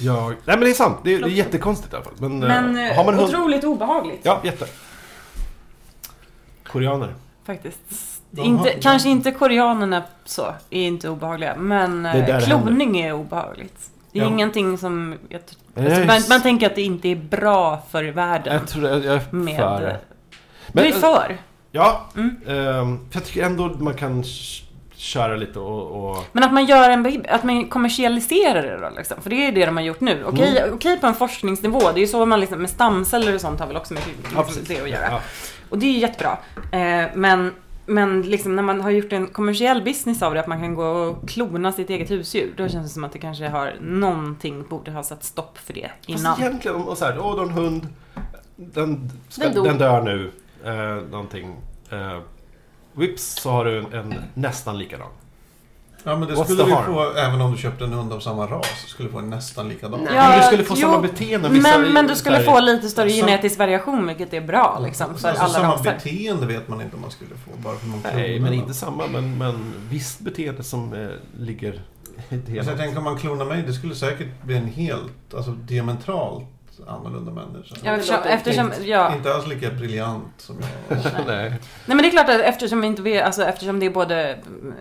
Speaker 4: jag, nej men det är sant. Det, är- det är jättekonstigt i alla fall. Men, eh,
Speaker 3: Men
Speaker 4: har man
Speaker 3: eh,
Speaker 4: hund...
Speaker 3: otroligt obehagligt.
Speaker 4: Ja, jätte. Koreaner.
Speaker 3: Faktiskt.
Speaker 2: De
Speaker 3: inte,
Speaker 2: har-
Speaker 3: kanske inte koreanerna så, är inte obehagliga. Men
Speaker 4: är där
Speaker 3: eh,
Speaker 4: det
Speaker 3: kloning är obehagligt. Det är
Speaker 2: Ja.
Speaker 3: ingenting som... Jag, tr-
Speaker 4: Jag
Speaker 3: alltså,
Speaker 4: är
Speaker 3: man,
Speaker 4: s-
Speaker 3: man tänker att det inte är bra för världen.
Speaker 4: Jag tror jag, jag är
Speaker 3: Med... eh,
Speaker 4: för eh, det.
Speaker 3: du är för.
Speaker 4: Ja.
Speaker 3: Mm.
Speaker 4: ehm, för jag tycker ändå man kan sh- köra lite och... och
Speaker 3: Men att man gör en... be- Att man kommersialiserar det då liksom. För det är ju det de har gjort nu. Okej,
Speaker 4: Mm.
Speaker 3: okej på en forskningsnivå. Det är ju så man liksom... Med stamceller och sånt har väl också mycket
Speaker 4: Ja,
Speaker 3: med
Speaker 4: precis.
Speaker 3: det att göra.
Speaker 4: ja.
Speaker 3: Och det är ju jättebra. Eh, men men liksom när man har gjort en kommersiell business av det, att man kan gå och klona sitt eget husdjur. Då känns det som att det kanske har någonting, borde ha satt stopp för det innan.
Speaker 4: Fast egentligen, om- och så här, åh, du har en hund. Den, ska,
Speaker 5: Den
Speaker 4: den,
Speaker 5: dog.
Speaker 4: dör nu. Eh, någonting. Eh, vips så har du en, en nästan likadan.
Speaker 2: Ja, men det
Speaker 4: What's
Speaker 2: skulle
Speaker 4: the
Speaker 2: du
Speaker 4: harm?
Speaker 2: få även om du köpte en hund av samma ras. Så skulle du få en nästan likadan.
Speaker 5: Nej.
Speaker 4: Ja, men du
Speaker 3: Ja,
Speaker 4: skulle få
Speaker 3: jo,
Speaker 4: samma beteende. vissa-
Speaker 3: Men, men du skulle
Speaker 4: där-
Speaker 3: få lite större
Speaker 2: Sam-
Speaker 3: genetisk variation, vilket är bra liksom, för
Speaker 2: alltså,
Speaker 3: alla
Speaker 2: samma
Speaker 3: raser.
Speaker 2: beteende vet man inte om man skulle få bara för någon
Speaker 4: Nej, men inte samma. Men, men visst beteende som eh, ligger i det
Speaker 2: Alltså, jag
Speaker 4: hela.
Speaker 2: tänker om man klonar mig, det skulle säkert bli en helt, alltså diametralt annorlunda människa.
Speaker 3: Ja, eftersom,
Speaker 5: Det låter
Speaker 3: eftersom, ja.
Speaker 2: Inte alls lika briljant som jag.
Speaker 4: *laughs* Nej.
Speaker 3: Nej men det är klart att eftersom, vi inte vet, alltså, eftersom det är både mm,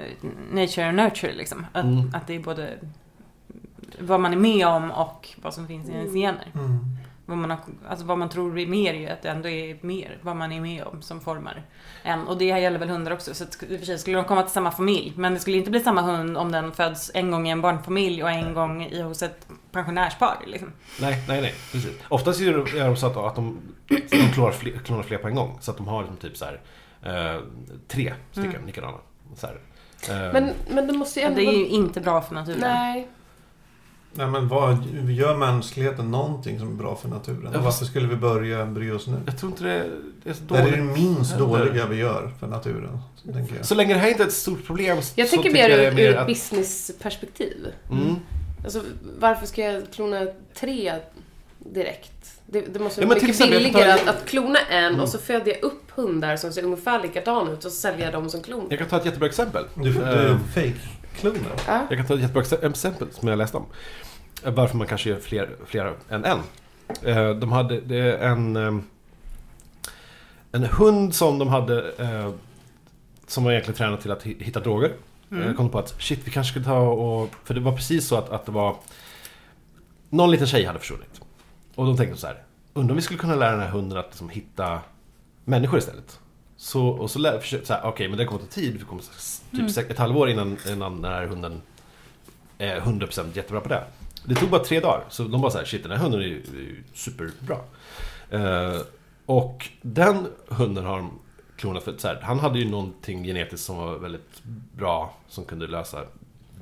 Speaker 3: nature och nurture liksom. Att,
Speaker 4: Mm.
Speaker 3: att det är både vad man är med om och vad som finns i ens gener.
Speaker 2: Mm.
Speaker 3: Vad man, har, alltså vad man tror är mer är ju att det ändå är mer vad man är med om som formar en. Och det här gäller väl hundar också. Så att, i och för sig skulle de komma till samma familj. Men det skulle inte bli samma hund om den föds en gång i en barnfamilj och en gång i, hos ett pensionärspar. Liksom.
Speaker 4: nej, nej, nej. Precis. Oftast gör de- gör de så att, att de, *clears throat* de klonar, fler, klonar fler på en gång. Så att de har liksom typ så här, eh, tre stycken
Speaker 3: Mm.
Speaker 4: likadana. Så här. Eh,
Speaker 5: Men, men det måste ju
Speaker 3: Men
Speaker 5: ändå...
Speaker 3: det är ju inte bra för naturen.
Speaker 5: Nej.
Speaker 2: Nej men vad, gör mänskligheten någonting som är bra för naturen?
Speaker 4: Ja,
Speaker 2: Varför skulle vi börja bry oss nu?
Speaker 4: Jag tror inte det, det är så
Speaker 2: Det är
Speaker 4: dåligt.
Speaker 2: det minst
Speaker 4: Eller-
Speaker 2: dåliga vi gör för naturen. Tänker jag.
Speaker 4: Så länge det här inte är ett stort problem så
Speaker 5: Jag tänker
Speaker 4: så
Speaker 5: mer
Speaker 4: jag det är
Speaker 5: ur, ur
Speaker 4: att-
Speaker 5: ett businessperspektiv.
Speaker 4: Mm.
Speaker 5: Alltså, varför ska jag klona tre direkt? Det, det måste
Speaker 4: Ja,
Speaker 5: vara
Speaker 4: men till
Speaker 5: mycket
Speaker 4: exempel, jag Mm. kan ta
Speaker 5: billigare
Speaker 4: en-
Speaker 5: att, att klona en och så föder jag upp hundar som ser ungefär likadana ut och sälja dem som klon.
Speaker 4: Jag kan ta ett jättebra exempel.
Speaker 2: Du, du
Speaker 4: Eh,
Speaker 2: fake-klonar.
Speaker 5: Ja.
Speaker 4: Jag kan ta ett jättebra exe- exempel som jag läste om. Eh, Varför man kanske gör fler, flera än en. Eh, De hade det är en, eh, en hund som de hade eh, som var egentligen tränad till att hi- hitta droger.
Speaker 3: Mm.
Speaker 4: Jag kom på att shit, vi kanske skulle ta och... För det var precis så att, att det var... Någon liten tjej hade försvunnit. Och de tänkte så här. Undrar om vi skulle kunna lära den här hunden att liksom hitta människor istället. Så, och så lär, försökte så här, okej men det kommer ta tid, vi kommer s- typ
Speaker 3: Mm.
Speaker 4: se- ett halvår innan, innan den här hunden är 100% jättebra på det. Det tog bara tre dagar, så de bara så här, shit den här hunden är ju, är ju superbra. Eh, och den hunden har de klonat för att så här, han hade ju någonting genetiskt som var väldigt bra, som kunde lösa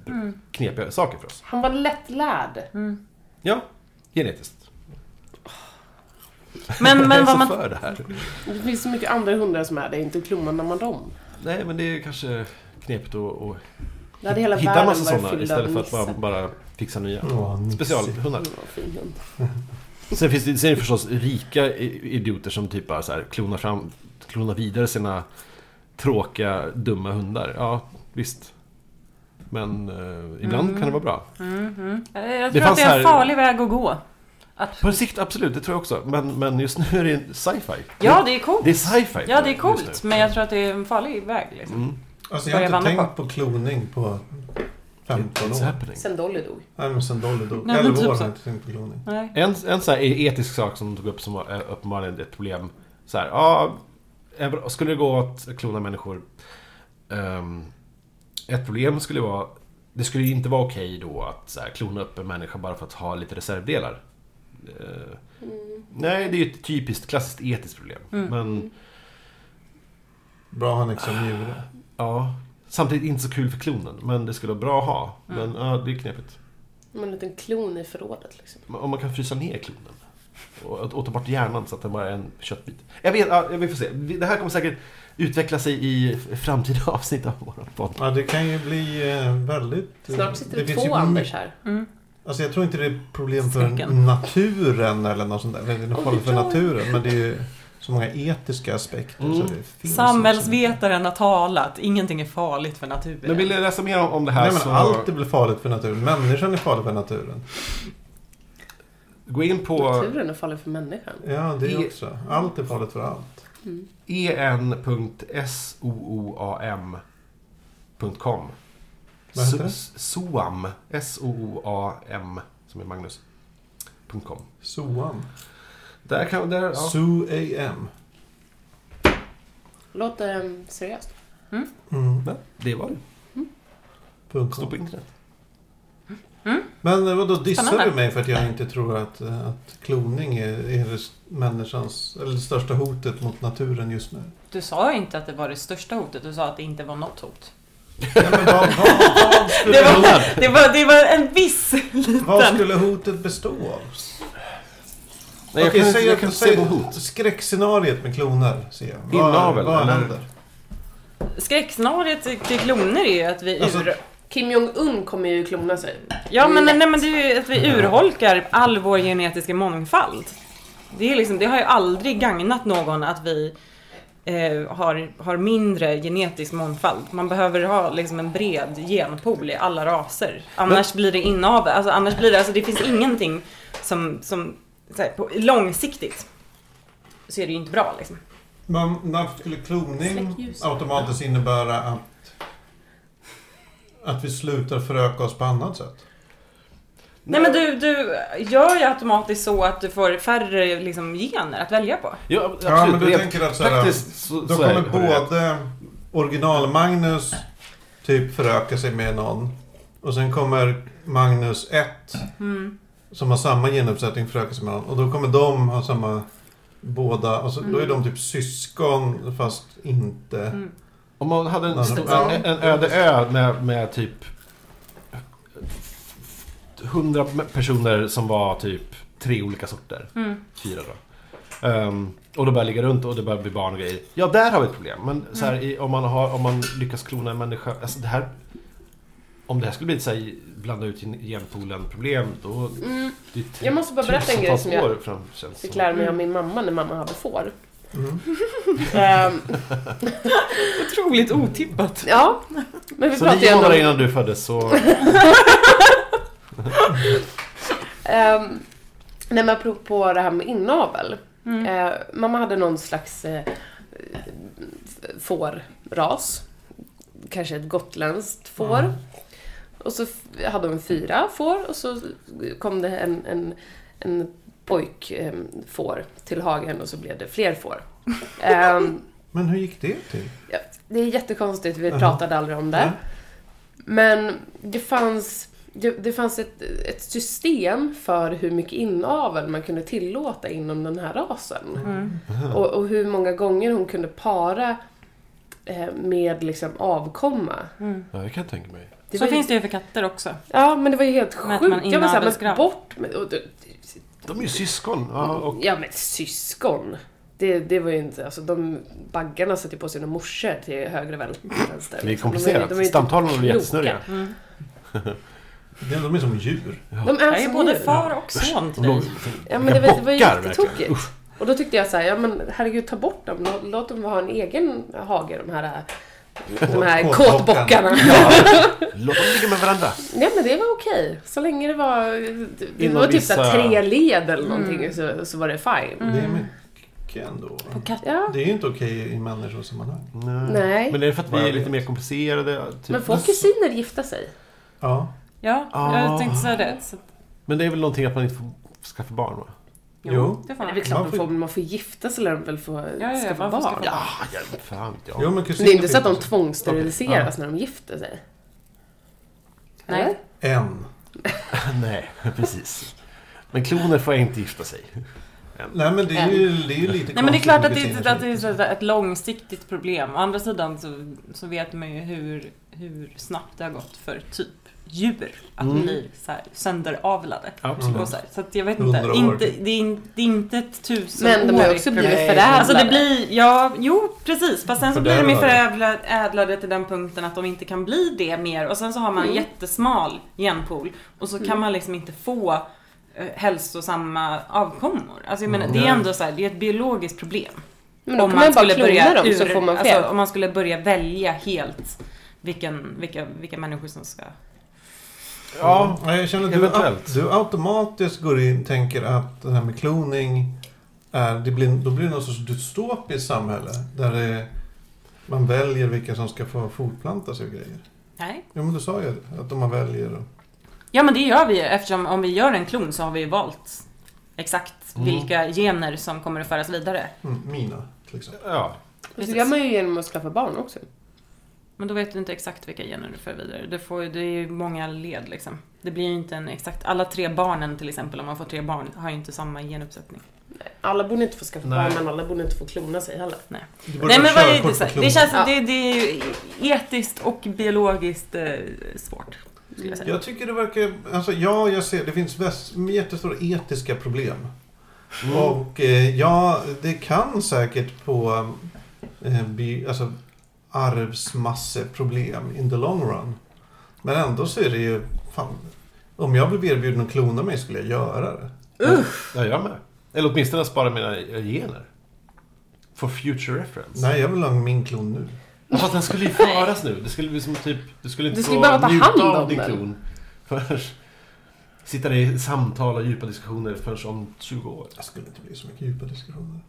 Speaker 3: Mm.
Speaker 4: knepiga saker för oss.
Speaker 5: Han var lättlärd.
Speaker 3: Mm.
Speaker 4: Ja, genetiskt.
Speaker 3: Men,
Speaker 4: jag
Speaker 3: men
Speaker 4: är
Speaker 3: vad
Speaker 4: så
Speaker 3: man...
Speaker 4: för det här.
Speaker 5: Det finns så mycket andra hundar som är det, inte klonar man dem.
Speaker 4: Nej, men det är kanske knepigt att att
Speaker 5: Då hade hela
Speaker 4: hitta
Speaker 5: världen
Speaker 4: massa
Speaker 5: varit
Speaker 4: sådana
Speaker 5: fylld
Speaker 4: istället för
Speaker 5: av
Speaker 4: att bara,
Speaker 5: nissar.
Speaker 4: bara fixa nya.
Speaker 2: Åh, nisse.
Speaker 4: Specialhundar.
Speaker 5: Mm, vad fin hund.
Speaker 4: Sen finns det, sen är det förstås rika i- idioter som typ bara så här klonar, fram, klonar vidare sina tråkiga, dumma hundar. Ja, visst. Men eh, ibland
Speaker 3: Mm.
Speaker 4: kan det vara bra.
Speaker 3: Mm, mm. Jag
Speaker 4: Det
Speaker 3: tror att
Speaker 4: fanns
Speaker 3: det är en
Speaker 4: här-
Speaker 3: farlig väg att gå. Att...
Speaker 4: På sikt, absolut, det tror jag också. Men, men just nu är det sci-fi.
Speaker 3: Ja, det är coolt.
Speaker 4: Det är sci-fi.
Speaker 3: Ja, det är
Speaker 4: just
Speaker 3: coolt.
Speaker 4: nu.
Speaker 3: Men jag tror att det är en farlig väg. Liksom.
Speaker 4: Mm.
Speaker 2: Alltså jag har
Speaker 3: Börja
Speaker 2: inte
Speaker 3: vandra
Speaker 2: tänkt på kloning på 15
Speaker 4: It's
Speaker 2: år.
Speaker 4: happening.
Speaker 5: Sen Dolly dog.
Speaker 2: Nej men sen Dolly dog.
Speaker 3: Nej, men
Speaker 2: 11
Speaker 3: typ
Speaker 2: år
Speaker 3: så.
Speaker 2: har jag inte tänkt på kloning.
Speaker 3: Nej.
Speaker 4: En, en så här etisk sak som de tog upp som var eh, uppenbarligen ett problem. Så här, ja, en- skulle det gå att klona människor? ehm, ett problem skulle vara, det skulle ju inte vara okej då att så här, klona upp en människa bara för att ha lite reservdelar. Eh, Nej, det är ju ett typiskt klassiskt etiskt problem.
Speaker 3: Mm.
Speaker 4: Men
Speaker 2: Bra han liksom njure.
Speaker 4: ja, samtidigt inte så kul för klonen. Men det skulle vara bra att ha. Men ja, det är knepigt.
Speaker 5: Med en liten klon i förrådet liksom.
Speaker 4: Men Om man kan frysa ner klonen. Och, och ta bort hjärnan så att den bara är en köttbit. Jag vet, ja, vi får se. Vi- Det här kommer säkert utveckla sig i f- framtida *laughs* avsnitt av vår podd.
Speaker 2: Ja det kan ju bli eh, väldigt... eh,
Speaker 4: Mm.
Speaker 5: Snart sitter det
Speaker 2: finns ju
Speaker 5: två Anders här.
Speaker 3: Mm.
Speaker 2: Alltså jag tror inte det är problem för
Speaker 3: Skräcken.
Speaker 2: naturen eller något sånt där. Det är
Speaker 5: Oj,
Speaker 2: farligt för
Speaker 5: oj.
Speaker 2: naturen. Men det är ju så många etiska aspekter.
Speaker 4: Mm.
Speaker 2: Så det finns liksom.
Speaker 3: Samhällsvetaren har talat. Ingenting är farligt för naturen.
Speaker 4: Men vill ni läsa mer om, om det här
Speaker 2: Nej, men
Speaker 4: så
Speaker 2: Allt är väl farligt för naturen. Människan är farlig för naturen.
Speaker 4: gå in på
Speaker 5: Naturen är farlig för människan. Mm.
Speaker 2: Ja, det
Speaker 4: I-
Speaker 2: också. Allt är farligt för allt.
Speaker 4: e en.soam.com
Speaker 2: Vad heter det?
Speaker 4: S- Soam. S-O-O-A-M. Som är Magnus. .com.
Speaker 2: SOAM.
Speaker 4: Där kan... Där, ja.
Speaker 2: SOAM.
Speaker 5: Låter um, seriöst.
Speaker 2: Mm.
Speaker 4: Nej, det var det.
Speaker 2: punkt
Speaker 4: Står
Speaker 2: com.
Speaker 4: på internet.
Speaker 2: Men eh, vadå, dissar
Speaker 3: Mm. Spännande.
Speaker 2: du mig för att jag inte tror att, eh, att kloning är, är det människans, eller det största hotet mot naturen
Speaker 4: *laughs*
Speaker 2: just nu?
Speaker 3: Du sa ju inte att det var det största hotet. Du sa att det inte var något hot.
Speaker 2: Ja, men vad, vad, vad,
Speaker 3: Det
Speaker 2: skulle,
Speaker 3: var, det var, det var en viss liten...
Speaker 2: vad skulle hotet bestå av?
Speaker 4: Nej, jag
Speaker 2: Okej,
Speaker 4: kan,
Speaker 2: säg
Speaker 4: jag
Speaker 2: att-
Speaker 4: kan inte
Speaker 2: säg
Speaker 4: se något hot.
Speaker 2: Skräckscenariet med kloner, ser jag. Vad-
Speaker 4: Inavel,
Speaker 2: Vad
Speaker 4: eller?
Speaker 2: händer?
Speaker 3: Skräckscenariet till till kloner är ju att vi
Speaker 2: Alltså-
Speaker 3: ur...
Speaker 5: Kim Jong-Un kommer ju klona sig.
Speaker 3: Ja men,
Speaker 5: Lätt.
Speaker 3: nej, men det är ju att vi urholkar all vår genetiska mångfald. Det, är liksom, det har ju aldrig gagnat någon att vi eh, har, har mindre genetisk mångfald. Man behöver ha liksom en bred genpool i alla raser. Annars blir det inavel. Alltså, annars blir det, alltså, det finns ingenting som, som så här, på, långsiktigt så är det ju inte bra liksom.
Speaker 2: Men varför skulle
Speaker 5: Släck
Speaker 2: kloning
Speaker 5: ljuset.
Speaker 2: automatiskt innebära att, att vi slutar föröka oss på annat sätt?
Speaker 3: Nej men du, du gör ju automatiskt så att du får färre liksom, gener att välja på.
Speaker 4: Ja, absolut.
Speaker 2: Ja, men du
Speaker 4: Rent
Speaker 2: tänker att så här,
Speaker 4: praktiskt så,
Speaker 2: Då
Speaker 4: så är
Speaker 2: kommer
Speaker 4: det. Har du rätt.
Speaker 2: både original-Magnus typ föröka sig med någon. Och sen kommer Magnus 1 som har samma genuppsättning föröka sig med någon. Och då kommer de ha samma båda. Och så, Då är de typ syskon fast inte.
Speaker 3: Mm.
Speaker 4: Om man hade en,
Speaker 2: Ja.
Speaker 4: stor,
Speaker 2: Alltså, Ja.
Speaker 4: en, en öde ö med, med typ 100 personer som var typ tre olika sorter.
Speaker 3: Mm.
Speaker 4: Fyra då. Ehm, och de börjar ligga runt och det börjar bli barn och grejer. Ja, där har vi ett problem. Men så här,
Speaker 2: Mm.
Speaker 4: i, om, man har, om man lyckas klona en människa. Alltså det här, om det här skulle bli ett så här, blanda ut gen- genpoolen problem då...
Speaker 5: Mm.
Speaker 4: Det är tu-
Speaker 5: Jag måste bara berätta en grej
Speaker 4: tusentals
Speaker 5: som jag
Speaker 4: år fram, känns
Speaker 5: Fick
Speaker 4: som.
Speaker 5: lära mig av min mamma när mamma hade får.
Speaker 2: Mm.
Speaker 5: Ehm,
Speaker 3: Otroligt otippat.
Speaker 5: ja, men vi
Speaker 4: Så
Speaker 5: pratar ju
Speaker 4: nio
Speaker 5: ändå
Speaker 4: månader
Speaker 5: om...
Speaker 4: innan du föddes så...
Speaker 5: ehm, nej men apropå det här med inavel.
Speaker 3: Mm.
Speaker 2: Mm.
Speaker 5: Eh, mamma hade någon slags eh, f- fårras. Kanske ett gotländskt får.
Speaker 2: Mm.
Speaker 5: Och så f- hade hon fyra får och så kom det en, en, en pojk eh, får till hagen och så blev det fler
Speaker 2: *laughs*
Speaker 5: får. Ehm,
Speaker 2: Men hur gick det till?
Speaker 5: Ja, det är jättekonstigt, vi
Speaker 2: Jaha.
Speaker 5: pratade aldrig om det.
Speaker 2: Ja.
Speaker 5: Men det fanns, det, det fanns ett, ett system för hur mycket inavel man kunde tillåta inom den här rasen.
Speaker 3: Mm.
Speaker 5: Och, och hur många gånger hon kunde para eh, med liksom avkomma.
Speaker 4: Ja, jag kan tänka mig.
Speaker 5: Det
Speaker 3: så
Speaker 5: var ju,
Speaker 3: finns det ju för katter också.
Speaker 5: Ja, men det var ju helt
Speaker 3: Men att
Speaker 5: sjukt.
Speaker 3: man
Speaker 5: Jag var såhär, men
Speaker 3: inavelsgrabb.
Speaker 5: bort med... Och, och,
Speaker 4: De är ju syskon. Ja, och
Speaker 5: Ja men syskon. Det, det var ju inte, alltså de baggarna satte ju på sina morsor till höger och vän- vänster. Liksom.
Speaker 4: Det är
Speaker 5: De
Speaker 4: komplicerat.
Speaker 5: ju- de är ju
Speaker 4: Stamtalen blir
Speaker 5: kloka. *laughs*
Speaker 4: jättesnurriga.
Speaker 2: De- De är som djur.
Speaker 5: De är
Speaker 3: Jag är
Speaker 5: som
Speaker 3: både
Speaker 5: djur.
Speaker 3: far och son till dig.
Speaker 5: Ja men det var, det var ju
Speaker 4: Bockar, verkligen.
Speaker 5: jättetokigt. Och då tyckte jag så här, ja men herregud ta bort dem. Lå- Låt dem ha en egen hage de här, eh, de här
Speaker 2: Kåtbockarna.
Speaker 5: kåtbockarna.
Speaker 4: Låt dem ligga med varandra.
Speaker 5: Nej men det var okej. Så länge det var, det
Speaker 4: Inom
Speaker 5: var typ
Speaker 4: vissa-
Speaker 5: så här tre led eller någonting
Speaker 3: Mm.
Speaker 5: så, så var det fine.
Speaker 2: Det är mycket ändå.
Speaker 3: På katt.
Speaker 5: Ja,
Speaker 2: Det är ju inte okej i människosammanhang.
Speaker 5: nej.
Speaker 4: Men är det för att
Speaker 2: Vad
Speaker 4: vi är
Speaker 2: jag
Speaker 4: lite
Speaker 2: vet.
Speaker 4: mer komplicerade? Typ?
Speaker 5: Men får kusiner gifta sig?
Speaker 2: Ja.
Speaker 3: Ja,
Speaker 4: Ah.
Speaker 3: jag tänkte säga det. Så,
Speaker 4: Men det är väl någonting att man inte får skaffa barn va?
Speaker 2: Jo.
Speaker 3: det får
Speaker 5: Nej,
Speaker 3: man.
Speaker 5: det är klart man
Speaker 2: Varför?
Speaker 5: får, man får gifta sig lär de väl få
Speaker 3: ja, ja,
Speaker 5: skaffa
Speaker 3: man får
Speaker 5: barn.
Speaker 3: skaffa
Speaker 5: Ja.
Speaker 3: barn.
Speaker 4: Ah, ja, fan vet jag.
Speaker 2: Jo, men
Speaker 5: Det är inte
Speaker 2: kusiner
Speaker 5: så att de
Speaker 2: finns.
Speaker 5: tvångssteriliseras när de gifter sig?
Speaker 3: Nej.
Speaker 5: Eller?
Speaker 2: En.
Speaker 4: *laughs* Nej, precis. Men kloner får inte gifta sig.
Speaker 2: Nej men det är ju, det är ju lite
Speaker 3: Nej men det är
Speaker 2: konstigt
Speaker 3: klart
Speaker 2: med
Speaker 3: att det,
Speaker 2: kusiner
Speaker 3: är- att det är så här ett långsiktigt problem. Å andra sidan så, så vet man ju hur, hur snabbt det har gått för typ djur att
Speaker 4: Mm.
Speaker 3: bli så här sönderavlade.
Speaker 4: Absolut.
Speaker 3: Och så, här. så att jag vet
Speaker 2: Hundra
Speaker 3: inte,
Speaker 2: år.
Speaker 3: inte det, är in, det är inte ett tusenårigt
Speaker 5: Men de har ju också blivit
Speaker 4: Nej.
Speaker 5: förädlade.
Speaker 3: Alltså det blir, ja, jo precis. Fast sen så blir de ju
Speaker 2: Fördärvade.
Speaker 3: förädlade till den punkten att de inte kan bli det mer. Och sen så har
Speaker 5: Mm.
Speaker 3: man en jättesmal genpool. Och så kan man liksom inte få eh, hälsosamma avkommor. Alltså jag menar, det är ändå så här, det är ett biologiskt problem.
Speaker 5: Men då kan man bara klona dem så
Speaker 3: ur-
Speaker 5: får man fel.
Speaker 3: alltså, om man skulle börja välja helt vilken, vilka, vilka människor som ska...
Speaker 2: Ja, jag känner att du,
Speaker 4: Eventuellt.
Speaker 2: du automatiskt går in och tänker att det här med kloning är, det blir, då blir det någon sorts dystopiskt samhälle där det, man väljer vilka som ska få fortplanta sig och grejer.
Speaker 3: Nej.
Speaker 2: Ja, men du sa ju det, att om man väljer. och-
Speaker 3: Ja men det gör vi ju, eftersom om vi gör en klon så har vi ju valt exakt
Speaker 4: Mm.
Speaker 3: vilka gener som kommer att föras vidare.
Speaker 2: Mm, mina, till exempel.
Speaker 4: Ja.
Speaker 5: Fast det gör man ju genom att skaffa barn också.
Speaker 3: Men då vet du inte exakt vilka gener du för vidare. Du får, ju- det är ju många led liksom. Det blir ju inte en exakt... Alla tre barnen till exempel, om man får tre barn, har ju inte samma genuppsättning.
Speaker 5: Alla borde inte få skaffa
Speaker 4: Nej.
Speaker 5: barn, men alla borde inte få klona sig heller.
Speaker 2: Du borde
Speaker 3: Nej
Speaker 2: ha
Speaker 3: men vad är
Speaker 2: körkort
Speaker 3: det?
Speaker 2: för
Speaker 3: så här?
Speaker 2: kloning.
Speaker 3: Det känns...
Speaker 5: Ja.
Speaker 3: Det, det är ju etiskt och biologiskt eh, svårt. Skulle jag säga.
Speaker 2: Jag tycker det verkar... Alltså, ja, jag ser. Det finns väst, jättestora etiska problem. Och eh, ja, det kan säkert på eh, bi, alltså, arvsmasseproblem in the long run. Men ändå så är det ju... Fan, om jag blev erbjuden att klona mig skulle jag göra det.
Speaker 4: Ja, jag med. Eller åtminstone spara mina gener. For future reference.
Speaker 2: Nej, jag vill ha min klon nu.
Speaker 4: Ja, Fast den skulle ju
Speaker 5: *laughs*
Speaker 4: föras nu. Det skulle bli som typ... Du skulle inte
Speaker 5: Du skulle
Speaker 4: få
Speaker 5: behöva ta
Speaker 4: njuta
Speaker 5: hand
Speaker 4: av
Speaker 5: om
Speaker 4: din
Speaker 5: den.
Speaker 4: klon. Förrän... Sitta i samtal och djupa diskussioner förrän om 20 år.
Speaker 2: Det skulle inte bli så mycket djupa diskussioner.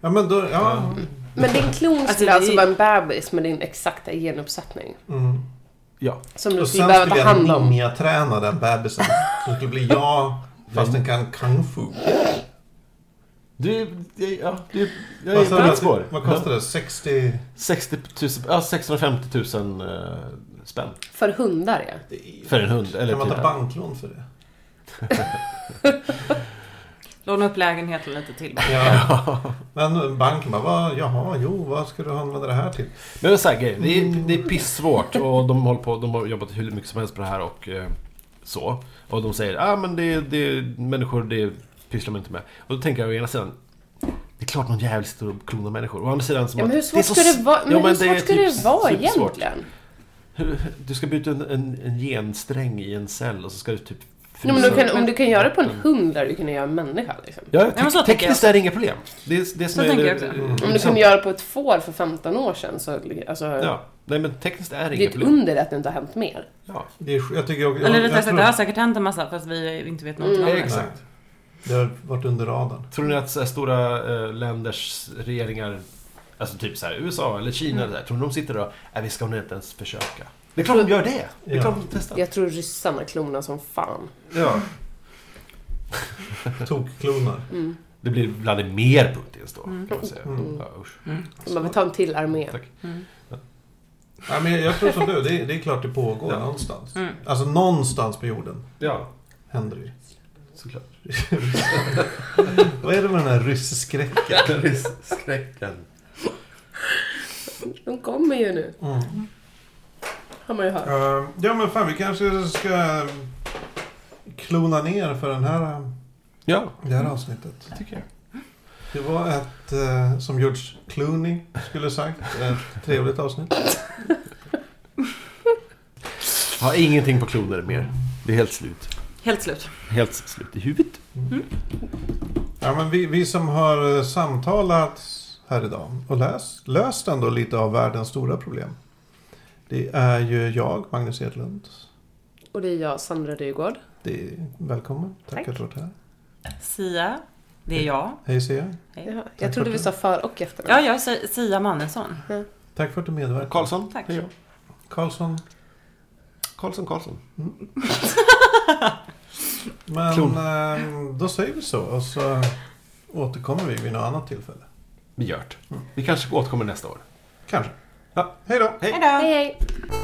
Speaker 2: Ja, men då...
Speaker 4: Mm.
Speaker 2: Ja.
Speaker 5: Men din klon
Speaker 3: Alltså, det
Speaker 5: skulle
Speaker 3: är-
Speaker 5: alltså vara en bebis med din exakta genuppsättning.
Speaker 2: Mm.
Speaker 5: Som du
Speaker 2: Och
Speaker 5: skulle
Speaker 2: sen
Speaker 5: behöva
Speaker 2: skulle
Speaker 5: ta hand
Speaker 2: jag
Speaker 5: om.
Speaker 2: ninja-träna den bebisen. Så det skulle bli jag, fast den kan kung fu.
Speaker 4: Du... det- Ja, du... Jag
Speaker 2: Vad
Speaker 4: är på
Speaker 2: sa du
Speaker 4: rätt
Speaker 2: att-
Speaker 4: spår.
Speaker 2: Vad kostar det? 60...
Speaker 4: 60 000... Ja, 650 000 eh, spänn.
Speaker 5: För hundar ja.
Speaker 4: För en hund. Eller
Speaker 2: Kan man
Speaker 4: typ...
Speaker 2: ta banklån för
Speaker 4: *laughs*
Speaker 2: det?
Speaker 3: Låna upp lägenheten lite till.
Speaker 2: Ja. Men banken bara, vad, jaha, jo, vad ska du använda det här till?
Speaker 4: Men så här, grejer, det, är, det är pissvårt och de, håller på, de har jobbat hur mycket som helst på det här och eh, så. Och de säger ah, men det, det människor, det pysslar man inte med. Och då tänker jag å ena sidan, det är klart någon jävel sitter och klonar människor. Å andra sidan, som
Speaker 5: Ja, men
Speaker 4: att,
Speaker 5: hur
Speaker 4: är
Speaker 5: svårt
Speaker 4: så
Speaker 5: skulle
Speaker 4: s-
Speaker 5: det vara,
Speaker 4: Ja,
Speaker 5: men hur
Speaker 4: det är
Speaker 5: svårt skulle
Speaker 4: typ
Speaker 5: det vara
Speaker 4: supersvårt.
Speaker 5: egentligen?
Speaker 4: Hur- Du ska byta en, en, en gensträng i en cell och så ska du typ
Speaker 5: Nej, men du kan, om
Speaker 4: upp
Speaker 5: du kan göra det på en
Speaker 4: den.
Speaker 5: hund där du kunna göra en människa. Liksom.
Speaker 4: Ja,
Speaker 3: men så
Speaker 4: te-
Speaker 3: tänker
Speaker 4: tekniskt
Speaker 3: jag.
Speaker 4: är det inga problem. Det, är- det som
Speaker 3: Så
Speaker 4: är
Speaker 3: tänker
Speaker 4: det,
Speaker 3: jag också.
Speaker 4: eh,
Speaker 5: Om du kunde göra det på ett får för 15 år sedan så... Alltså,
Speaker 4: Ja, nej men tekniskt är det
Speaker 5: Det är
Speaker 4: inga
Speaker 5: ett
Speaker 4: problem.
Speaker 5: under att det inte har hänt mer.
Speaker 4: Ja,
Speaker 2: Det är, jag tycker jag, jag,
Speaker 3: Eller
Speaker 2: jag,
Speaker 3: rättare sagt,
Speaker 2: tror-
Speaker 3: det har säkert hänt en massa fast vi inte vet någonting om det.
Speaker 4: exakt.
Speaker 2: det har varit under radarn.
Speaker 4: Tror ni att så här stora eh, länders regeringar, alltså typ så här USA eller Kina, eller så här, tror ni de sitter och Nej, vi ska nog inte ens försöka? Mm. Det är klart de gör det! Det är
Speaker 2: Ja.
Speaker 4: klart de testar.
Speaker 5: Jag tror ryssarna klonar som fan.
Speaker 4: Ja.
Speaker 2: Tokklonar.
Speaker 5: Mm.
Speaker 4: Det blir Vladimir Putins då,
Speaker 3: Mm.
Speaker 4: kan man säga.
Speaker 2: Mm.
Speaker 4: Ja, usch.
Speaker 5: De behöver ta en till armé.
Speaker 4: Tack.
Speaker 3: Mm.
Speaker 2: Nej, men jag tror som du, det är, det är klart det pågår någonstans.
Speaker 3: Mm.
Speaker 2: Alltså någonstans på jorden
Speaker 4: Ja,
Speaker 2: händer det ju. *laughs*
Speaker 4: såklart.
Speaker 2: Vad är det med den här rysskräcken?
Speaker 4: Skräcken.
Speaker 5: De kommer ju nu,
Speaker 2: Mm.
Speaker 5: har man ju hört.
Speaker 2: Eh, ja, men fan, vi kanske ska klona ner för den här... eh,
Speaker 4: Ja,
Speaker 2: Det här avsnittet.
Speaker 4: tycker jag.
Speaker 2: Det var ett, eh, som George Clooney skulle sagt, ett trevligt avsnitt.
Speaker 4: Har ingenting på kloner mer. Det är helt slut.
Speaker 3: Helt slut.
Speaker 4: Helt slut i huvudet.
Speaker 2: Ja, men vi, vi som har eh, samtalat här idag och läst, löst ändå lite av världens stora problem. Det är ju jag, Magnus Edlund.
Speaker 5: Och det är jag, Sandra Dyrgård.
Speaker 2: Det är, välkommen. Tack,
Speaker 5: Tack.
Speaker 2: att du har varit här.
Speaker 3: Sia, det är jag.
Speaker 2: Hej Sia.
Speaker 3: Hej.
Speaker 5: Ja, jag trodde vi sa för och
Speaker 3: Ja,
Speaker 5: efternamn.
Speaker 3: jag är Si- Sia Mannesson.
Speaker 2: Tack för att du medverkade.
Speaker 4: Karlsson.
Speaker 3: Tack.
Speaker 4: det är jag.
Speaker 2: Karlsson.
Speaker 4: Karlsson, Karlsson.
Speaker 2: Men
Speaker 4: Klon.
Speaker 2: eh, då säger vi så och så återkommer vi vid något annat tillfälle.
Speaker 4: Vi gör det. Vi kanske återkommer nästa år.
Speaker 2: Kanske.
Speaker 4: Ja.
Speaker 2: Hej då.
Speaker 5: Hej, hej!